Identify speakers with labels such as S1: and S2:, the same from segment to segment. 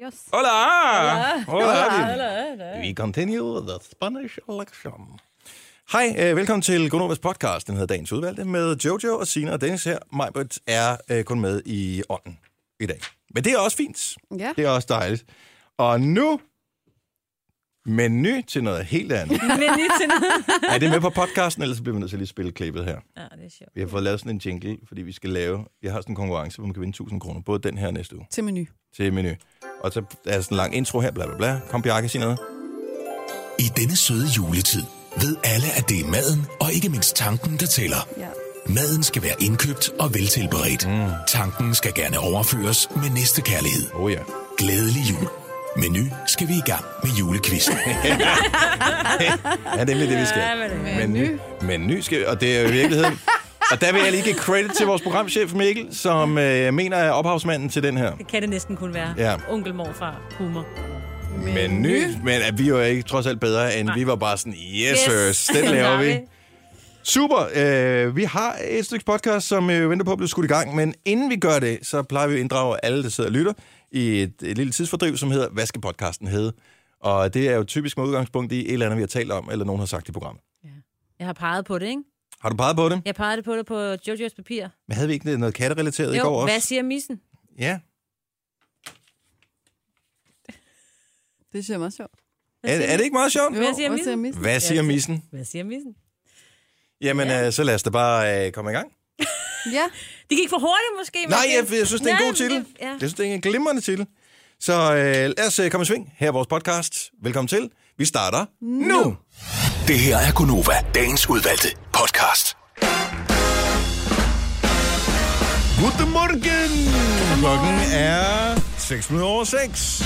S1: Yes.
S2: Hola! Hola!
S1: Hola.
S2: We continue the Spanish election. Hej, øh, velkommen til Gonovas podcast. Den hedder Dagens Udvalgte med Jojo og Sina og Dennis her. Majbert er øh, kun med i ånden i dag. Men det er også fint.
S1: Ja.
S2: Det er også dejligt. Og nu... Menu til noget helt andet.
S3: Menu til noget.
S2: er det med på podcasten, ellers bliver vi nødt til at lige spille klippet her.
S3: Ja, det er sjovt.
S2: Vi har fået lavet sådan en jingle, fordi vi skal lave... Jeg har sådan en konkurrence, hvor man kan vinde 1000 kroner, både den her og næste uge,
S1: Til menu.
S2: til menu. Og så er der sådan en lang intro her, bla bla bla. Kom, Bjarke, sig noget.
S4: I denne søde juletid ved alle, at det er maden og ikke mindst tanken, der tæller.
S1: Ja.
S4: Maden skal være indkøbt og veltilberedt. Mm. Tanken skal gerne overføres med næste kærlighed.
S2: Åh oh, ja.
S4: Glædelig jul. Men nu skal vi i gang med julekvisten.
S2: Ja, det er nemlig det, vi skal.
S3: men det
S2: Men ny. Men ny skal vi, og det er jo i virkeligheden... Og der vil jeg lige give credit til vores programchef Mikkel, som øh, mener er ophavsmanden til den her.
S3: Det kan det næsten kun være.
S2: Ja.
S3: Onkel morfar humor.
S2: Men ny, men at vi er jo ikke trods alt bedre, end vi var bare sådan, yes, yes. Sirs, den laver vi. Super. Øh, vi har et stykke podcast, som øh, venter på at blive skudt i gang, men inden vi gør det, så plejer vi at inddrage alle, der sidder og lytter, i et, et lille tidsfordriv, som hedder, hvad skal podcasten hedde? Og det er jo typisk med udgangspunkt i et eller andet, vi har talt om, eller nogen har sagt i programmet.
S3: Jeg har peget på det, ikke?
S2: Har du peget på det?
S3: Jeg pegede på det på Jojos papir.
S2: Men havde vi ikke noget katterelateret i går
S3: Jo,
S2: også?
S3: hvad siger missen?
S2: Ja.
S1: Det ser meget sjovt.
S2: Er, er det ikke meget sjovt?
S3: Hvad siger
S1: også
S3: min?
S1: mis?
S2: Hvad siger
S3: Ja, det-
S2: missen?
S3: Hvad siger missen?
S2: Jamen, ja. øh, så lad os da bare øh, komme i gang.
S1: Ja.
S3: Det gik for hurtigt måske. men
S2: Nej,
S3: det-
S2: jeg, jeg synes, det er en
S3: Nej,
S2: god
S3: men
S2: titel.
S3: det- Ja.
S2: Jeg synes, det er en glimrende titel. Så øh, lad os øh, komme i sving. Her er vores podcast. Velkommen til. Vi starter nu. nu.
S4: det her er Gonova, dagens udvalgte podcast.
S2: Godmorgen! Klokken er 6 minutter over 6.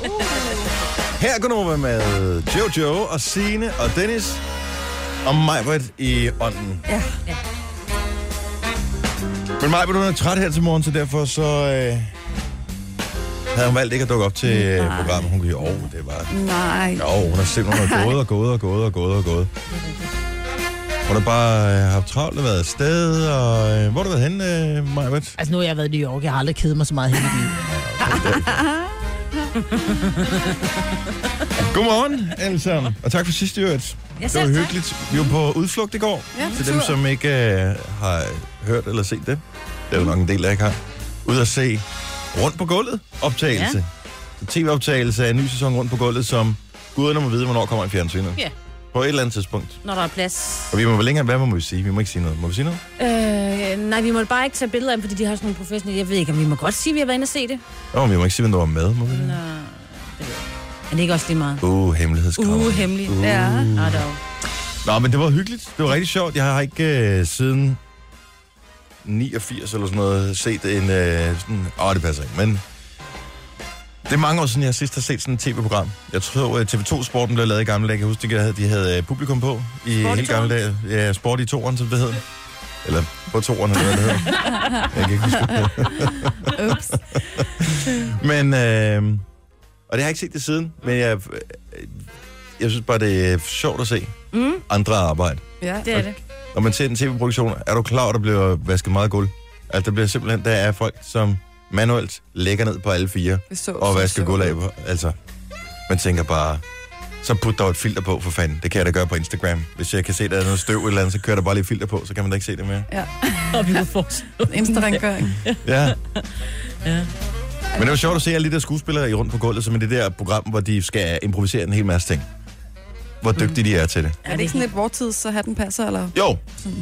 S3: Uh.
S2: Her går over med Jojo og Sine og Dennis og Majbert i ånden. Ja. Men Majbert, hun er træt her til morgen, så derfor så øh, havde hun valgt ikke at dukke op til øh, programmet. Hun kunne jo, oh, det var...
S1: Nej.
S2: Jo, hun har simpelthen hun har gået og gået og gået og gået og gået. Hun har bare øh, haft travlt og været afsted, og øh, hvor har du været henne, øh, Majbert?
S5: Altså nu har jeg været i New York, jeg har aldrig kedet mig så meget hele mit liv.
S2: Godmorgen alle sammen, og tak for sidste øvrigt. Det
S3: Ja,
S2: var
S3: selv tak.
S2: hyggeligt. Vi var på udflugt i går,
S1: Ja,
S2: til
S1: tur.
S2: dem, som ikke øh, har hørt eller set det. Det er jo nok en del, der ikke har. Ud at se rundt på gulvet optagelse. Ja. TV-optagelse af en ny sæson rundt på gulvet, som guderne må vide, hvornår kommer i fjernsynet.
S3: Ja.
S2: På et eller andet tidspunkt.
S3: Når der er plads.
S2: Og vi må vel ikke engang, hvad må vi sige? Vi må ikke sige noget. Må vi sige noget?
S3: Øh, nej, vi måtte bare ikke tage billeder af dem, fordi de har sådan nogle professionelle. Jeg ved ikke, om vi må godt sige, at vi har været inde og se det.
S2: Nå, men vi må ikke sige, hvem der var med. Må vi?
S3: Nå, det ved jeg. Men det er ikke også lige meget.
S2: Uh, hemmelighedskrammer.
S3: Uh, hemmeligt.
S2: Uh.
S1: Ja.
S3: Nå, dog.
S2: Nå, men det var hyggeligt. Det var rigtig sjovt. Jeg har ikke øh, siden 89 eller sådan noget set en... Øh, sådan, åh, det passer ikke, men... Det er mange år siden, jeg sidst har set sådan et tv-program. Jeg tror, øh, TV2 Sporten blev lavet i gamle dage. Jeg kan huske, de havde, de havde øh, publikum på i
S3: Sport i
S2: hele gamle dage.
S3: toeren?
S2: Ja, Sport i toeren, som det hed. Eller på toeren, eller hvad det hedder. Jeg kan ikke huske det.
S1: Ups.
S2: Men, øh, og det har jeg ikke set det siden, men jeg, øh, jeg synes bare, det er sjovt at se
S3: Mm,
S2: andre arbejde.
S1: Ja.
S3: det er det.
S2: Når man ser en tv-produktion, er du klar, over, at der bliver vasket meget gulv? Altså, der bliver simpelthen, der er folk, som manuelt lægger ned på alle fire
S1: Det så
S2: og
S1: så
S2: vasker
S1: sjovt.
S2: gulv af. på. Altså, man tænker bare, så put dog et filter på, for fanden. Det kan jeg da gøre på Instagram. Hvis jeg kan se, der er noget støv eller andet, så kører der bare lige et filter på, så kan man da ikke se det mere.
S3: Og vi kunne fortsætte.
S1: Insta-rengøring.
S2: Ja. ja. Men det var sjovt at se alle de der skuespillere i rundt på gulvet, som i det der program, hvor de skal improvisere en hel masse ting. Hvor dygtige de er til det.
S1: Er det ikke sådan lidt vortids, så hatten passer, eller?
S2: Jo,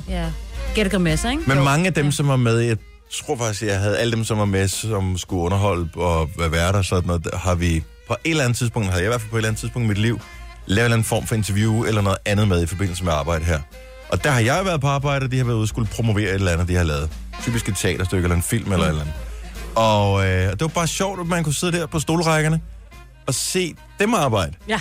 S3: Ja. Gæt og masser, ikke?
S2: men mange af dem, som var med, jeg tror faktisk, jeg havde alle dem, som var med, som skulle underholde og være værter og sådan noget, har vi på et eller andet tidspunkt, havde jeg i hvert fald på et eller andet tidspunkt i mit liv, lavet en eller anden form for interview eller noget andet med i forbindelse med arbejde her. Og der har jeg været på arbejde, og de har været ude og skulle promovere et eller andet, de har lavet. Typisk et teaterstykke eller en film eller et eller andet. Og øh, og det var bare sjovt, at man kunne sidde der på stolrækkerne og se dem arbejde.
S3: Ja.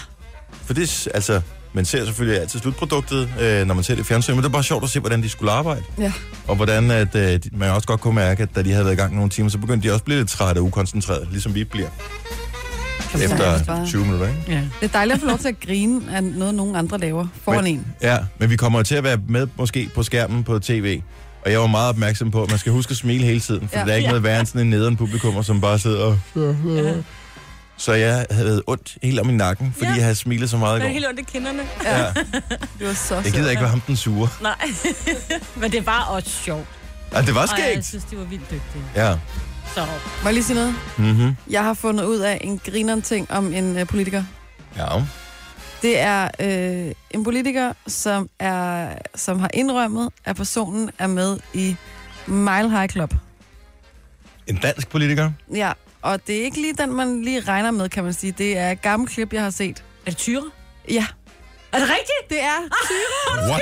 S2: For det, er s- altså, man ser selvfølgelig altid slutproduktet, øh, når man ser det i fjernsynet, men det er bare sjovt at se, hvordan de skulle arbejde.
S1: Ja.
S2: Og hvordan at, øh, de- man også godt kunne mærke, at da de havde været i gang nogle timer, så begyndte de også at blive lidt trætte og ukoncentreret, ligesom vi bliver
S1: sagtens
S2: efter
S1: bare.
S2: 20 minutter. Ikke?
S3: Ja.
S1: Det er dejligt at få lov til at grine af noget, nogen andre laver foran en.
S2: Ja, men vi kommer jo til at være med måske på skærmen på tv. Og jeg var meget opmærksom på, at man skal huske at smile hele tiden, for ja.
S1: Ja.
S2: der er ikke
S3: Ja.
S2: noget værre end sådan en nederen publikummer, som bare sidder og... Så jeg havde ondt helt om i nakken, fordi
S6: Ja.
S2: jeg havde smilet så meget i
S6: Det er
S2: går.
S6: helt ondt i kinderne.
S2: Ja.
S1: Det var så
S2: Jeg gider ikke være ham den sure.
S6: Nej.
S3: Men det var også sjovt.
S2: Ej, det var
S3: Og jeg
S2: skægt.
S3: synes, de var vildt dygtige.
S2: Ja.
S3: Så
S1: sjovt. Må jeg lige sige noget?
S2: Mm-hmm.
S1: Jeg har fundet ud af en grineren ting om en øh, politiker.
S2: Ja.
S1: Det er øh, en politiker, som, er, som har indrømmet, at personen er med i Mile High Club.
S2: En dansk politiker.
S1: Ja, og det er ikke lige den, man lige regner med, kan man sige. Det er et gammelt klip, jeg har set.
S3: er det tyre?
S1: Ja,
S3: Er det rigtigt? Ah!
S1: det er.
S2: What?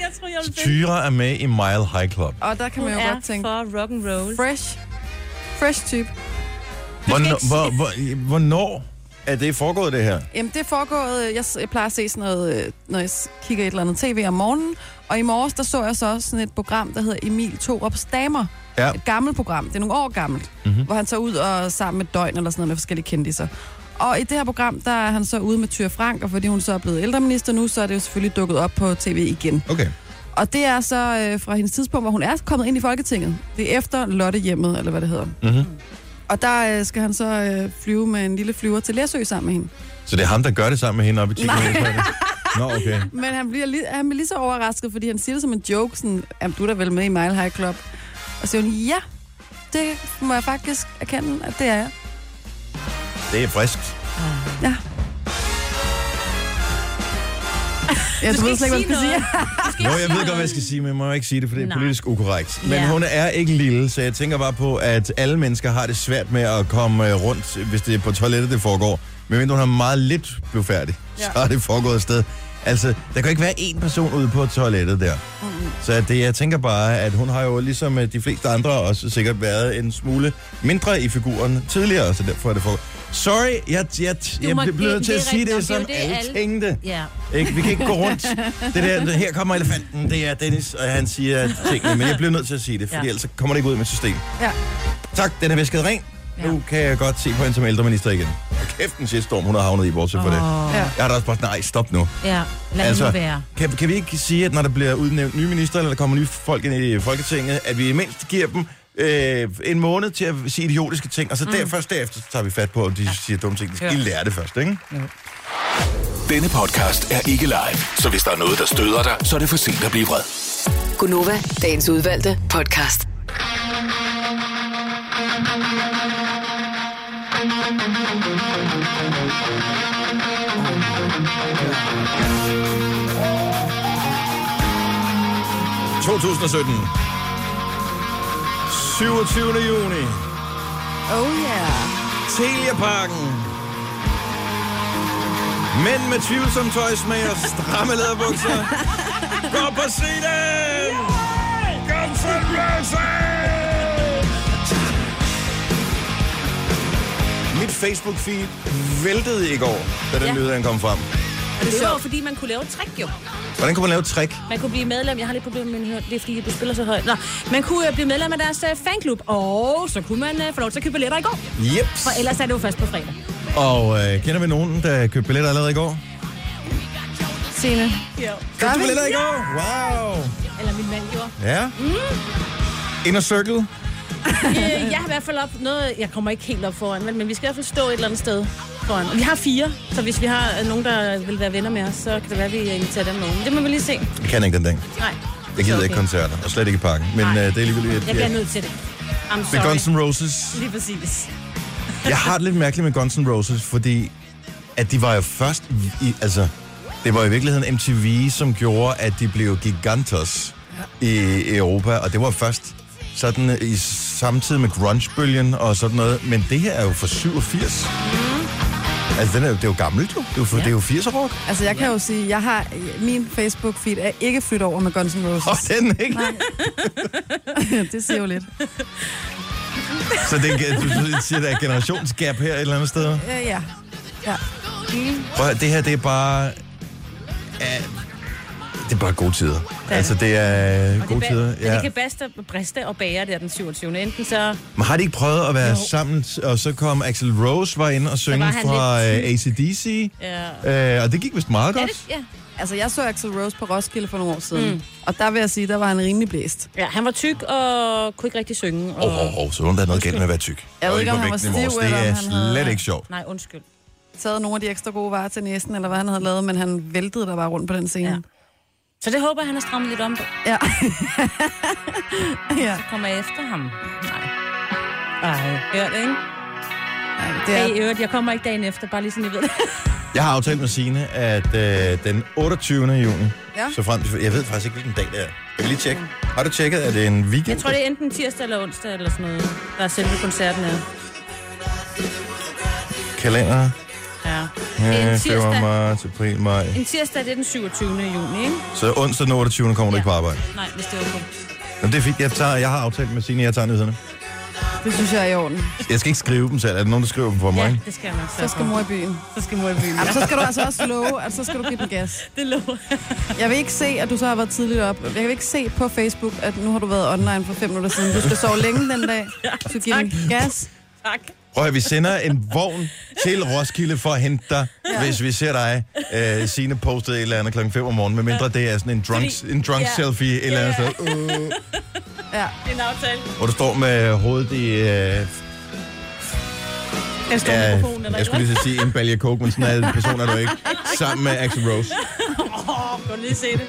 S3: Jeg tror, jeg vil
S2: Tyra er med i Mile High Club.
S1: Og der kan
S3: Hun
S1: man jo
S3: er
S1: godt tænke,
S3: for rock and roll.
S1: fresh, fresh type.
S2: Hvornår, hvor, hvor, hvornår er det foregået, det her?
S1: Jamen, det er foregået, øh, jeg, s- jeg plejer at se sådan noget, øh, når jeg s- kigger et eller andet tv om morgenen. Og i morges, der så jeg så også sådan et program, der hedder Emil Torups Damer.
S2: Ja. Mhm.
S1: Et gammelt program, det er nogle år gammelt, mm-hmm. hvor han tager ud og sammen med døgn eller sådan noget med forskellige kendiser. Og i det her program, der er han så ude med Tyre Frank, og fordi hun så er blevet ældreminister nu, så er det jo selvfølgelig dukket op på tv igen.
S2: Okay.
S1: Og det er så øh, fra hendes tidspunkt, hvor hun er kommet ind i Folketinget. Det er efter Lottehjemmet, eller hvad det hedder.
S2: Mhm.
S1: Og der øh, skal han så øh, flyve med en lille flyver til Læsø sammen med hende.
S2: Så det er ham, der gør det sammen med hende oppe i
S1: Nej.
S2: Tikkelen? Nå, okay.
S1: Men han bliver, lige, han bliver lige så overrasket, fordi han siger det som en joke, sådan, "Jamen, du er da vel med i Mile High Club? Og så siger hun, ja, det må jeg faktisk erkende, at det er jeg.
S2: Det er friskt.
S3: Ah.
S1: Ja. Jeg
S3: Du skal
S1: ved
S3: ikke
S1: slet ikke,
S3: sige
S1: hvad jeg skal sige.
S3: noget. Du skal
S2: Jo,
S3: ikke
S2: jeg ved
S3: sige
S2: godt, hvad jeg
S3: noget.
S2: skal sige, men jeg må ikke sige det, for det er
S3: Nej.
S2: politisk ukorrekt. Men
S3: Ja.
S2: hun er ikke lille, så jeg tænker bare på, at alle mennesker har det svært med at komme øh, rundt, hvis det er på toilettet, det foregår. Men hun har meget lidt blevet færdig, ja. så er det foregået et sted. Altså, der kan ikke være én person ude på toilettet der. Mm-hmm. Så det, jeg tænker bare, at hun har jo ligesom øh, de fleste andre også sikkert været en smule mindre i figuren tidligere, så derfor er det foregået. Sorry, jeg, jeg, jeg,
S3: må-
S2: jeg blev
S3: det-
S2: nødt til
S3: det er
S2: at sige det,
S3: rigtigt. Nå,
S2: som
S3: det er jo
S2: alle
S3: det, alle-
S2: tænkte.
S3: Ja.
S2: Ikke? Vi kan ikke gå rundt. Det der, det- her kommer elefanten, det er Dennis, og han siger tingene, men jeg bliver nødt til at sige det, fordi ja.
S3: Ja.
S2: ellers så kommer det ikke ud af mit system.
S1: Ja.
S2: Tak, den er væsket ren. Nu kan jeg godt se på hende som ældreminister igen. Og kæft, den shitstorm, hun har havnet i, bortset fra det.
S1: Ja.
S2: Jeg er da også bare sådan, nej, stop nu.
S3: Ja, lad altså, det nu være.
S2: kan, kan vi ikke sige, at når der bliver udnævnt nye minister, eller der kommer nye folk ind i Folketinget, at vi mindst giver dem øh, en måned til at sige idiotiske ting, og så mm. der, først derefter tager vi fat på, om de siger dumme ting. De skal
S3: Ja.
S2: lige lære det først, ikke?
S4: Denne podcast er ikke live, så hvis der er noget, der støder dig, så er det for sent at blive vred.
S7: Gunova, dagens udvalgte podcast.
S2: Ja. 2017. 27. juni.
S1: Oh yeah.
S2: Telia-parken. Mænd med tvivlsom tøjsmag og stramme læderbukser. Gå op og se dem! Kom så, løse! Mit Facebook-feed væltede i går, da den ja.
S3: Ja.
S2: lyd den kom frem.
S3: Det var jo, fordi man kunne lave et trick, jo.
S2: Hvordan kunne man lave et trick?
S3: Man kunne blive medlem. Jeg har lidt problemer med min hørt. Det er fordi, du spiller så højt. Nå, man kunne øh, blive medlem af deres øh, fanklub. Og så kunne man øh, få lov til at købe billetter i går.
S2: Jeps.
S3: For ellers er det jo først på fredag.
S2: Og øh, kender vi nogen, der købte billetter allerede i går?
S1: Signe.
S3: Ja.
S1: Gør
S2: Købte du
S1: vi?
S2: billetter i går? Wow.
S3: Eller min mand gjorde. Mm.
S2: Ja. Inner Circle.
S3: Øh, jeg har i hvert fald op noget... Jeg kommer ikke helt op foran, vel, men vi skal i hvert fald stå et eller andet sted foran. Og vi har fire, så hvis vi har øh, nogen, der vil være venner med os, så kan det være, at vi inviterer dem nogen. Det må vi lige se.
S2: Jeg kan ikke den ting.
S3: Nej.
S2: Jeg gider
S3: Så
S2: okay. ikke koncerter, og slet ikke i parken. Men øh,
S3: Nej.
S2: det er alligevel... Jeg,
S3: Jeg bliver nødt til det. I'm
S2: Det er
S3: sorry.
S2: Guns N' Roses.
S3: Lige præcis.
S2: Jeg har det lidt mærkeligt med Guns N' Roses, fordi at de var jo først i... Altså, det var i virkeligheden MTV, som gjorde, at de blev gigantos i Europa, og det var først sådan øh, i samtidig med grunge-bølgen og sådan noget. Men det her er jo fra 87. Altså, den er, jo- det er jo gammelt jo. Det er jo, for, det er jo 80'er-rock.
S1: Altså, jeg kan jo sige, jeg har min Facebook-feed er ikke flyttet over med Guns N'
S2: Og
S1: Roses.
S2: den, ikke?
S1: det siger jo lidt.
S2: Så det er, du siger, der er et generationsgap her et eller andet sted.
S1: Ja, ja. ja.
S3: Mm.
S2: Prøv, at høre, det her, det er bare... Ja, det er bare gode tider.
S3: er
S2: Altså,
S3: det.
S2: det er
S3: Og
S2: gode
S3: det,
S2: tider.
S3: Ja.
S2: Ja.
S3: det kan baste, briste og bære der den 27. Enten så...
S2: Men har de ikke prøvet at være
S3: Jo.
S2: jo. sammen? Og så kom Axel Rose var inde og synge
S3: var han
S2: fra
S3: lidt-
S2: øh, ACDC.
S3: Ja.
S2: Øh, og det gik vist meget
S3: Er
S2: godt.
S3: det? Ja.
S1: Altså, jeg så Axel Rose på Roskilde for nogle år siden, mm. og der vil jeg sige, der var han rimelig blæst. Mm,
S3: ja, han var tyk og kunne ikke rigtig synge. Og...
S2: Åh, oh, oh, oh, så er der noget galt med at være tyk.
S1: Jeg ved
S2: Og
S1: ikke, om
S2: på
S1: han var
S2: vægten i morges.
S1: stiv,
S2: Det
S1: eller
S2: er
S1: om han havde-
S2: slet ikke sjovt.
S3: Nej, undskyld.
S1: Taget nogle af de ekstra gode varer til næsten, eller hvad han havde lavet, men han væltede der bare rundt på den scene.
S3: Så det håber jeg, han har strammet lidt om på.
S1: Ja. ja.
S3: Kommer jeg efter ham? Nej. Ej, hørt, ikke?
S1: ja det
S3: Ja.
S1: er,
S3: Hey, i øvrigt, jeg kommer ikke dagen efter, bare lige sådan, I ved det.
S2: Jeg har aftalt med Signe, at øh, den 28. juni,
S1: Ja.
S2: så frem til... Jeg ved faktisk ikke, hvilken dag det er. Jeg vil lige tjekke. Har du tjekket, at det er en weekend?
S3: Jeg tror, det er enten tirsdag eller onsdag eller sådan noget, der er selve koncerten er.
S2: Kalender.
S3: Ja.
S2: Ja,
S3: en
S2: februar,
S3: tirsdag.
S2: marts, april, maj.
S3: En tirsdag, det er den 27. juni, ikke?
S2: Så onsdag den 28. kommer du
S3: Ja.
S2: ikke på arbejde.
S3: Nej, hvis det er okay.
S2: Jamen, det er fint. Jeg, tager, jeg har aftalt med Signe, jeg tager nyhederne.
S1: det synes jeg er i orden.
S2: Jeg skal ikke skrive dem selv. Er der nogen, der skriver dem for mig?
S3: Ja, det skal jeg nok.
S1: Så skal mor i byen.
S3: så skal mor i byen.
S1: Jamen, så skal du altså også love, at så skal du give den gas.
S3: Det lover jeg.
S1: Jeg vil ikke se, at du så har været tidligt op. Jeg kan ikke se på Facebook, at nu har du været online for fem minutter siden. Du skal sove længe den dag. Så giv den gas.
S3: Tak.
S2: Prøv at vi sender en vogn til Roskilde for at hente dig, ja. hvis vi ser dig, øh, Signe postet et eller andet klokken 5 om morgenen, medmindre det er sådan en drunk,
S3: Fordi-
S2: en drunk
S3: ja.
S2: ja. selfie et eller andet
S3: Ja.
S2: sted, uh,
S1: Ja.
S3: Det er en aftale.
S2: hvor du står med hovedet i... Øh, ja,
S3: Den store ja, mikrofon, eller
S2: jeg skulle lige
S3: lige...
S2: så sige en balje coke, men sådan en person er du ikke, sammen med Axel Rose.
S3: Åh, gå lige se det.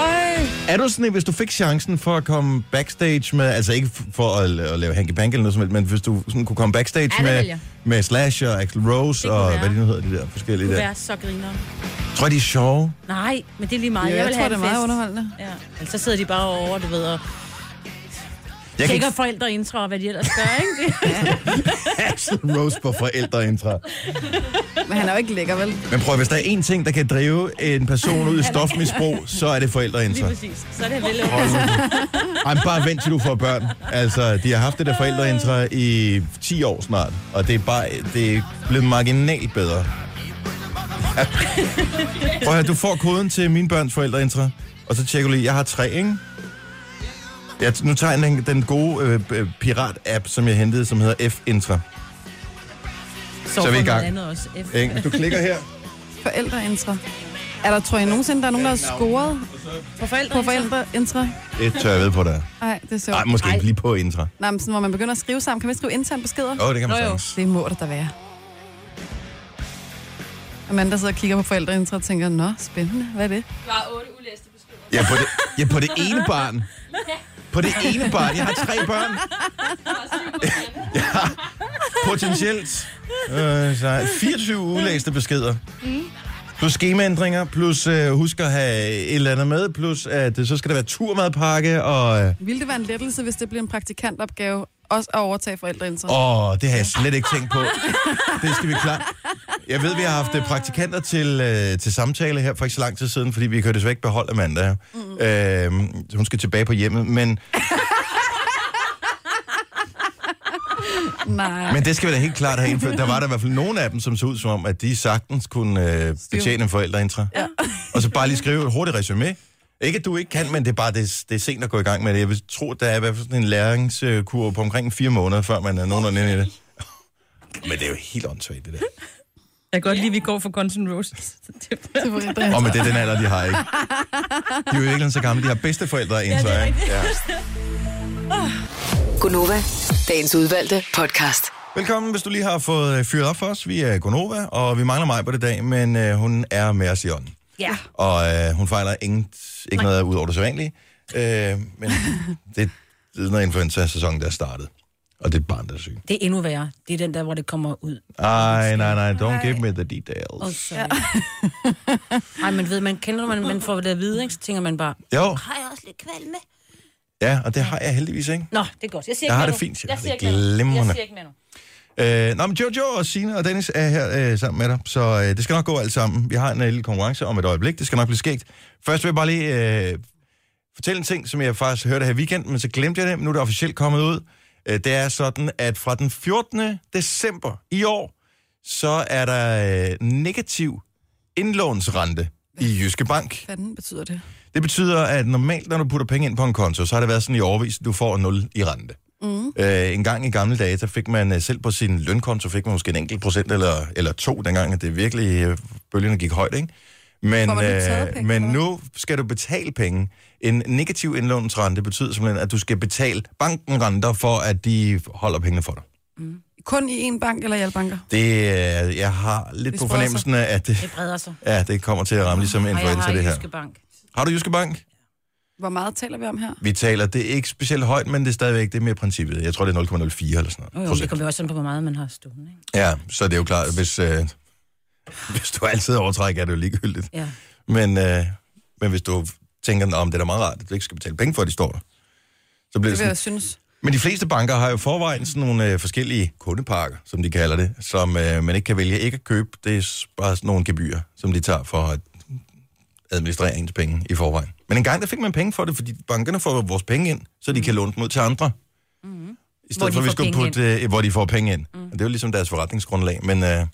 S3: Ej.
S2: Er du sådan en, hvis du fik chancen for at komme backstage med, altså ikke f- for at, la- at lave hanky panky eller noget som helst, men hvis du sådan kunne komme backstage
S3: Ja, det vil
S2: med,
S3: jeg.
S2: med Slash og Axel Rose
S3: Det kunne
S2: og
S3: være.
S2: hvad de nu hedder, de der forskellige
S3: Du
S2: der.
S3: er så griner.
S2: Tror jeg, de er sjove?
S3: Nej, men det er lige meget.
S1: Ja,
S3: jeg
S1: jeg
S3: vil
S1: tror,
S3: have
S1: det er
S3: en
S1: meget
S3: fest.
S1: underholdende.
S3: Ja, Ellers så sidder de bare over, du ved, og
S2: Jeg kan ikke
S3: tjekker forældre intro og hvad de ellers gør, ikke?
S2: Axel Rose på forældreintra.
S1: Men han er jo ikke lækker, vel?
S2: Men prøv, at- hvis der er én ting, der kan drive en person ud i stofmisbrug, så er det
S3: Lige
S2: forældreintra.
S3: præcis. Så er det vel.
S2: Ej, men bare vent til du får børn. Altså, de har haft det der forældreintra i 10 år snart, og det er bare det er blevet marginalt bedre. Prøv at høre, du får koden til mine børns forældreintra, og så tjekker du lige, jeg har tre, ikke? Jeg, nu tager jeg den, den gode øh, øh, pirat-app, som jeg hentede, som hedder F-Intra.
S3: Så
S2: er vi i
S3: får
S2: gang.
S3: noget andet også. F.
S2: Ikke? Du klikker her.
S1: Forældreintra. Er der, tror jeg, nogensinde, der er nogen, der har scoret
S3: For forældre.
S1: på forældreintra?
S2: Det tør jeg ved på dig.
S1: Nej, det er sjovt.
S2: Nej, måske ikke lige på intra.
S1: Nej, men sådan, hvor man begynder at skrive sammen. Kan man skrive interne beskeder?
S2: Åh, oh, det kan man
S3: Nå jo.
S2: sagtens.
S1: Det må der da være. Amanda sidder og kigger på forældreintra og tænker, nå, spændende, hvad er det?
S2: Ja, på det, ja, på det ene barn. På det ene barn. Jeg har tre børn. Jeg har potentielt øh, så 24 ulæste beskeder. Plus schemaændringer, plus øh, husk at have et eller andet med, plus at øh, så skal der være turmadpakke, og, øh,
S1: Ville det være en lettelse, hvis det blev en praktikantopgave også at overtage forældreintra?
S2: og det har jeg slet ikke tænkt på. Det skal vi klare. Jeg ved, vi har haft øh, praktikanter til, øh, til samtale her for ikke så lang tid siden, fordi vi kan jo desværre ikke beholde Amanda. Mm. Øh, så hun skal tilbage på hjemmet, men...
S1: Nej.
S2: Men det skal vi da helt klart have indført. Der var der i hvert fald nogle af dem, som så ud som om, at de sagtens kunne øh, betjene en forældreintra. Ja. Og så bare lige skrive et hurtigt resume. Ikke at du ikke kan, men det er bare det, det er sent at gå i gang med det. Jeg vil tro, der er i hvert fald sådan en læringskurve på omkring fire måneder, før man er nogenlunde inde i det. Men det er jo helt åndssvagt, det der.
S3: Jeg kan godt lide, at vi går for Guns N' Roses.
S1: til forældreintra.
S2: Og med det er den alder, de har, ikke? De er jo ikke så gamle. De har bedsteforældre ind, så, ikke? Ja.
S8: Ah.
S7: Gunova, dagens udvalgte podcast.
S2: Velkommen, hvis du lige har fået øh, fyret op for os. Vi er Gonova, og vi mangler mig på det dag, men øh, hun er med os i ånden.
S3: Ja.
S2: Og øh, hun fejler ingen, ikke noget ud over det sædvanlige. Øh, men det, det er noget influenza-sæson, der er startet. Og det er et barn, der er syg.
S3: Det er endnu værre. Det er den der, hvor det kommer ud.
S2: Ej, nej, nej, don't give me the details.
S3: Oh, sorry. Ej, men ved, man kender, når man, man får det at vide, ikke? så tænker man bare,
S2: Jo,
S3: har jeg også lidt kvalme?
S2: ja, og det har jeg heldigvis, ikke?
S3: Nå, det er godt. Jeg
S2: Jeg
S3: siger ikke
S2: har
S3: mere
S2: det
S3: nu.
S2: fint, jeg
S3: Jeg
S2: har
S3: siger
S2: det
S3: ikke mere nu.
S2: glimrende.
S3: Jeg siger ikke mere nu.
S2: Øh, nå, men Jojo og Sine og Dennis er her øh, sammen med dig, så øh, det skal nok gå alt sammen. Vi har en øh, lille konkurrence om et øjeblik, det skal nok blive skægt. Først vil jeg bare lige øh, fortælle en ting, som jeg faktisk hørte her i weekenden, men så glemte jeg det, men nu er det officielt kommet ud. Øh, det er sådan, at fra den 14. december i år, så er der øh, negativ indlånsrente i Jyske Bank.
S1: Hvad fanden betyder det?
S2: Det betyder, at normalt, når du putter penge ind på en konto, så har det været sådan i overvis, at du får 0 i rente. Mm. Øh, en gang i gamle dage, der fik man øh, selv på sin lønkonto, fik man måske en enkelt procent eller, eller to, dengang at det virkelig øh, bølgerne gik højt, ikke? Men, øh,
S1: Får man nu taget penge,
S2: men
S1: eller hvad?
S2: nu skal du betale penge. En negativ indlånsrente betyder simpelthen, at du skal betale banken renter for, at de holder pengene for dig.
S1: Kun i én bank eller i alle banker?
S2: Det, øh, jeg har lidt
S1: Det
S2: på
S1: spreder
S2: fornemmelsen af, at det,
S3: Det breder sig.
S2: ja, det kommer til at ramme ligesom
S3: Og jeg
S2: influenza,
S3: har
S2: det her.
S3: Jyske Bank.
S2: Har du Jyske Bank?
S1: Hvor meget taler vi om her?
S2: Vi taler, det er ikke specielt højt, men det er stadigvæk det er mere princippet. Jeg tror, det er 0,04 eller sådan
S3: Jo,
S2: noget.
S3: jo, men det
S2: procent.
S3: kommer jo også an på, hvor meget man har stående. Ikke?
S2: Ja, så det er jo klart, hvis, øh, hvis du altid overtrækker, er det jo ligegyldigt.
S3: Ja.
S2: Men, øh, men hvis du tænker, om det er da meget rart, at du ikke skal betale penge for, at de står der, så bliver det
S1: Det vil
S2: sådan.
S1: jeg synes.
S2: Men de fleste banker har jo i forvejen sådan nogle øh, forskellige kundepakker, som de kalder det, som øh, man ikke kan vælge ikke at købe. Det er s- bare sådan nogle gebyrer, som de tager for at administrere ens penge i forvejen. Men engang der fik man penge for det, fordi bankerne får vores penge ind, så de kan låne dem ud til andre. Mm-hmm. I
S3: Mm. Hvor
S2: stedet
S3: de
S2: for, at vi
S3: får
S2: skulle
S3: penge
S2: putte, øh, hvor de får penge ind. Mm. Det er jo ligesom deres forretningsgrundlag, men øh,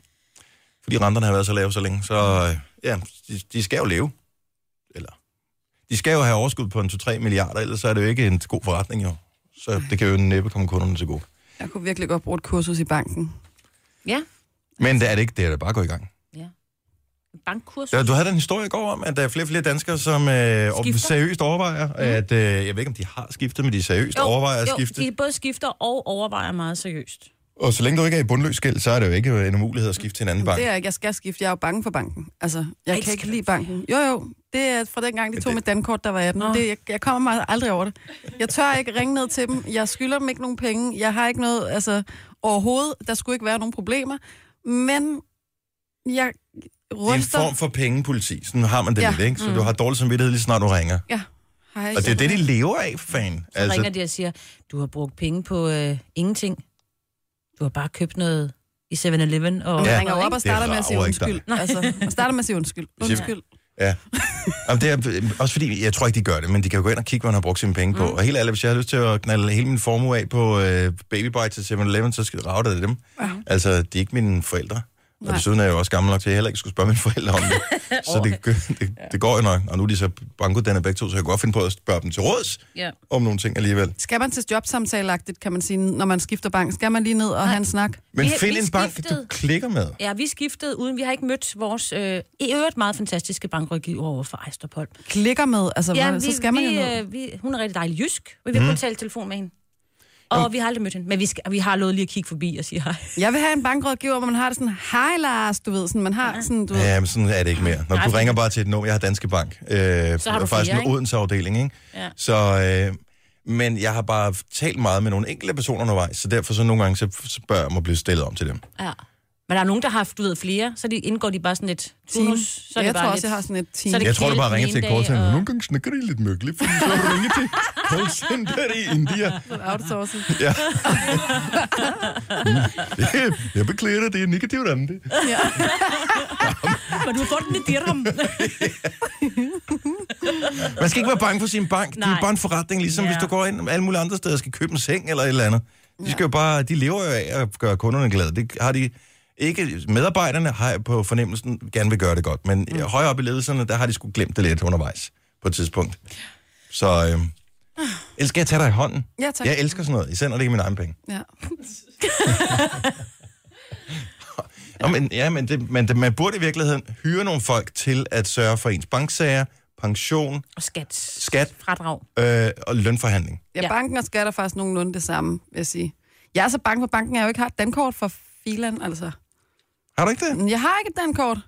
S2: fordi renterne har været så lave så længe, så øh, ja, de, de skal jo leve. Eller, de skal jo have overskud på en 2-3 milliarder, ellers så er det jo ikke en god forretning jo. Så det kan jo næppe komme kunderne til gode.
S1: Jeg kunne virkelig godt bruge et kursus i banken.
S3: Ja.
S2: Men det er det ikke, det er da bare at gå i gang.
S3: ja. Bankkurs.
S2: Der- Du havde den historie i går om, at der er flere og flere danskere, som øh,
S3: Skifter.
S2: seriøst overvejer, mm. at øh, jeg ved ikke, om de har skiftet, men de seriøst jo, overvejer at
S3: jo,
S2: skifte.
S3: de både skifter og overvejer meget seriøst.
S2: Og så længe du ikke er i bundløs gæld, så er det jo ikke en umulighed at skifte til en anden bank.
S1: Det er jeg ikke. Jeg skal skifte. Jeg er jo bange for banken. Altså, jeg
S3: Ej,
S1: kan ikke
S3: skal
S1: lide banken. Jo, jo. Det er fra den gang, de tog
S2: det-
S1: mit dankort, der var 18. Det, jeg, jeg kommer meget aldrig over det. Jeg tør ikke ringe ned til dem. Jeg skylder dem ikke nogen penge. Jeg har ikke noget, altså overhovedet. Der skulle ikke være nogen problemer. Men jeg
S2: Det er en
S1: ryster...
S2: form for pengepoliti. Sådan har man det ja.
S1: Ja.
S2: lidt, ikke? Så mm. du har dårlig samvittighed lige snart du ringer.
S1: Ja. Hej,
S2: Og det er det, de lever af, for fanden.
S3: Så altså... ringer de og siger, du har brugt penge på øh, ingenting. Du har bare købt noget i 7-Eleven. Og...
S1: Og man
S2: Ja.
S1: ringer jo op
S2: Det
S1: og starter med at sige
S2: rager ikke dig.
S1: undskyld. Altså, man starter med at sige undskyld. Undskyld.
S2: Ja. Jamen, det er øh, også fordi, jeg tror ikke, de gør det, men de kan jo gå ind og kigge, hvad han har brugt sine penge på. Mm. Og helt ærligt, hvis jeg har lyst til at knalde hele min formue af på øh, Baby Bite til 7-Eleven, så skal det rave det dem. Ja. Altså, de er ikke mine forældre. Nej. Og
S1: Nej.
S2: desuden er jeg jo også gammel nok til, at jeg heller ikke skulle spørge mine forældre om det. så det, gør- det, det, går jo nok. Og nu er de så bankuddannede begge to, så jeg kan godt finde på at spørge dem til råds
S3: Ja.
S2: om nogle ting alligevel.
S1: Skal man til jobsamtaleagtigt, kan man sige, når man skifter bank? Skal man lige ned og have en snak?
S2: Men
S3: Vi-
S2: find
S3: vi
S2: en bank, du
S3: skiftede-
S2: klikker med.
S3: Ja, vi skiftede uden, vi har ikke mødt vores øh, i øvrigt meget fantastiske bankrådgiver over for Ejsterpolp.
S1: Klikker med, altså, ja,
S3: vi,
S1: så skal man jo
S3: vi,
S1: ned.
S3: øh, vi, hun er rigtig dejlig jysk, og vi
S2: Mhm.
S3: har mm. tale i telefon med hende. Og vi har aldrig mødt hende, men vi, skal, vi har lovet lige at kigge forbi og sige hej.
S1: Jeg vil have en bankrådgiver, hvor man har det sådan, hej Lars, du ved, sådan, man har sådan, du ved,
S2: Ja, men sådan er det ikke mere. Når
S3: Nej,
S2: du
S3: fordi-
S2: ringer bare til et nummer, jeg har Danske Bank. Øh, så
S3: har du
S2: faktisk
S3: flere,
S2: en
S3: ikke?
S2: Odense-afdeling, ikke?
S3: Ja.
S2: Så, øh, men jeg har bare talt meget med nogle enkelte personer undervejs, så derfor så nogle gange, så så bør jeg mig blive stillet om til dem.
S3: Ja. Men der er nogen, der har haft, du ved, flere, så de indgår de bare sådan et
S1: team.
S3: turnus. Så er
S1: jeg
S3: det bare
S1: tror
S3: lidt...
S1: også, jeg har sådan et team.
S3: Så er
S1: det...
S3: det-
S2: Jeg tror, du bare
S3: Kjeld
S2: ringer
S3: den
S2: til et
S3: ene dag,
S2: call center.
S3: og-
S2: Nogle gange snakker de lidt myggeligt, fordi så har du ringet til call center i India.
S1: Outsourcing.
S2: Ja. jeg beklager dig, det er negativt andet.
S3: Men du får den i dirham.
S2: Man skal ikke være bange for sin bank. Nej. Det er
S3: Nej.
S2: bare en forretning, ligesom ja.
S3: Ja.
S2: hvis du går ind alle mulige andre steder og skal købe en seng eller et eller andet. De, skal jo bare, de lever jo af at gøre kunderne glade. Det har de ikke, medarbejderne har jeg på fornemmelsen gerne vil gøre det godt, men mm. højere op i ledelserne, der har de sgu glemt det lidt undervejs på et tidspunkt. Så øh, elsker jeg at tage dig i hånden.
S1: Ja, tak.
S2: Jeg elsker sådan noget, især når det ikke er mine egne penge.
S1: Ja.
S2: Ja. Nå, men, ja, men, det, men det, man burde i virkeligheden hyre nogle folk til at sørge for ens banksager, pension,
S3: Og skat.
S2: Skat.
S3: Fradrag.
S2: øh, og lønforhandling.
S1: ja,
S3: Ja.
S1: banken og skat er faktisk nogenlunde det samme, vil jeg sige. Jeg er så bange for banken, at jeg jo ikke har et dankort for filan, altså.
S2: Har du ikke det?
S1: Men Jeg har ikke et dankort.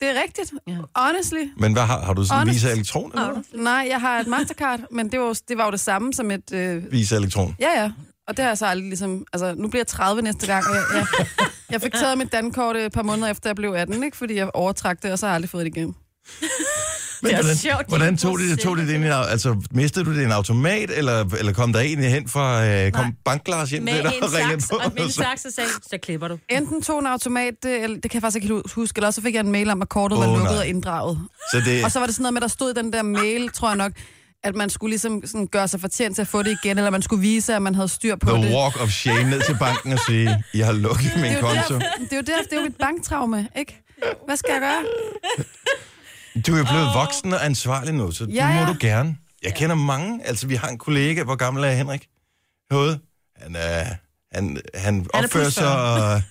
S1: Det er rigtigt.
S3: Ja.
S1: Honestly.
S2: Men hvad har, har du sådan en
S1: Honest-
S2: Visa Elektron? Eller? hvad?
S1: Nej, jeg har et Mastercard, men det var, jo, det var jo det samme som et... Øh...
S2: Visa Elektron.
S1: Ja, ja. Og det har jeg så aldrig ligesom... Altså, nu bliver jeg 30 næste gang, og jeg, jeg, jeg fik taget mit dankort øh, et par måneder efter, jeg blev 18, ikke? Fordi jeg overtrak det, og så har jeg aldrig fået det igen.
S2: Men hvordan,
S3: sjovt, de
S2: hvordan
S3: ikke
S2: tog det,
S3: kunne
S2: tog det ind i, altså mistede du det i en automat, eller, eller kom der en hen fra, øh, kom Banklars hjem
S3: Med
S2: til dig
S3: en
S2: og ringede
S3: saks,
S2: på?
S3: og med en
S2: så-
S3: saks og sagde, så klipper du.
S1: Enten tog en automat, det, eller, det kan jeg faktisk ikke hu- huske, eller også så fik jeg en mail om, at kortet oh, var
S2: Åh,
S1: lukket
S2: nej.
S1: og inddraget.
S2: Så det,
S1: Og så var det sådan noget med, der stod i den der mail, tror jeg nok, at man skulle ligesom sådan gøre sig fortjent til at få det igen, eller man skulle vise, at man havde styr på det.
S2: the walk of shame ned til banken og sige, I har lukket min
S1: Det er, jo
S2: konto.
S1: der, det er jo der, det er jo mit banktraume, ikke? Hvad skal jeg gøre?
S2: Du er blevet voksen og ansvarlig nu, så ja,
S1: Ja,
S2: det må
S1: ja.
S2: du gerne. Jeg kender mange. Altså, vi har en kollega. Hvor gammel er Henrik? Hoved. Han, er, han, han opfører
S3: plus
S2: sig... Og,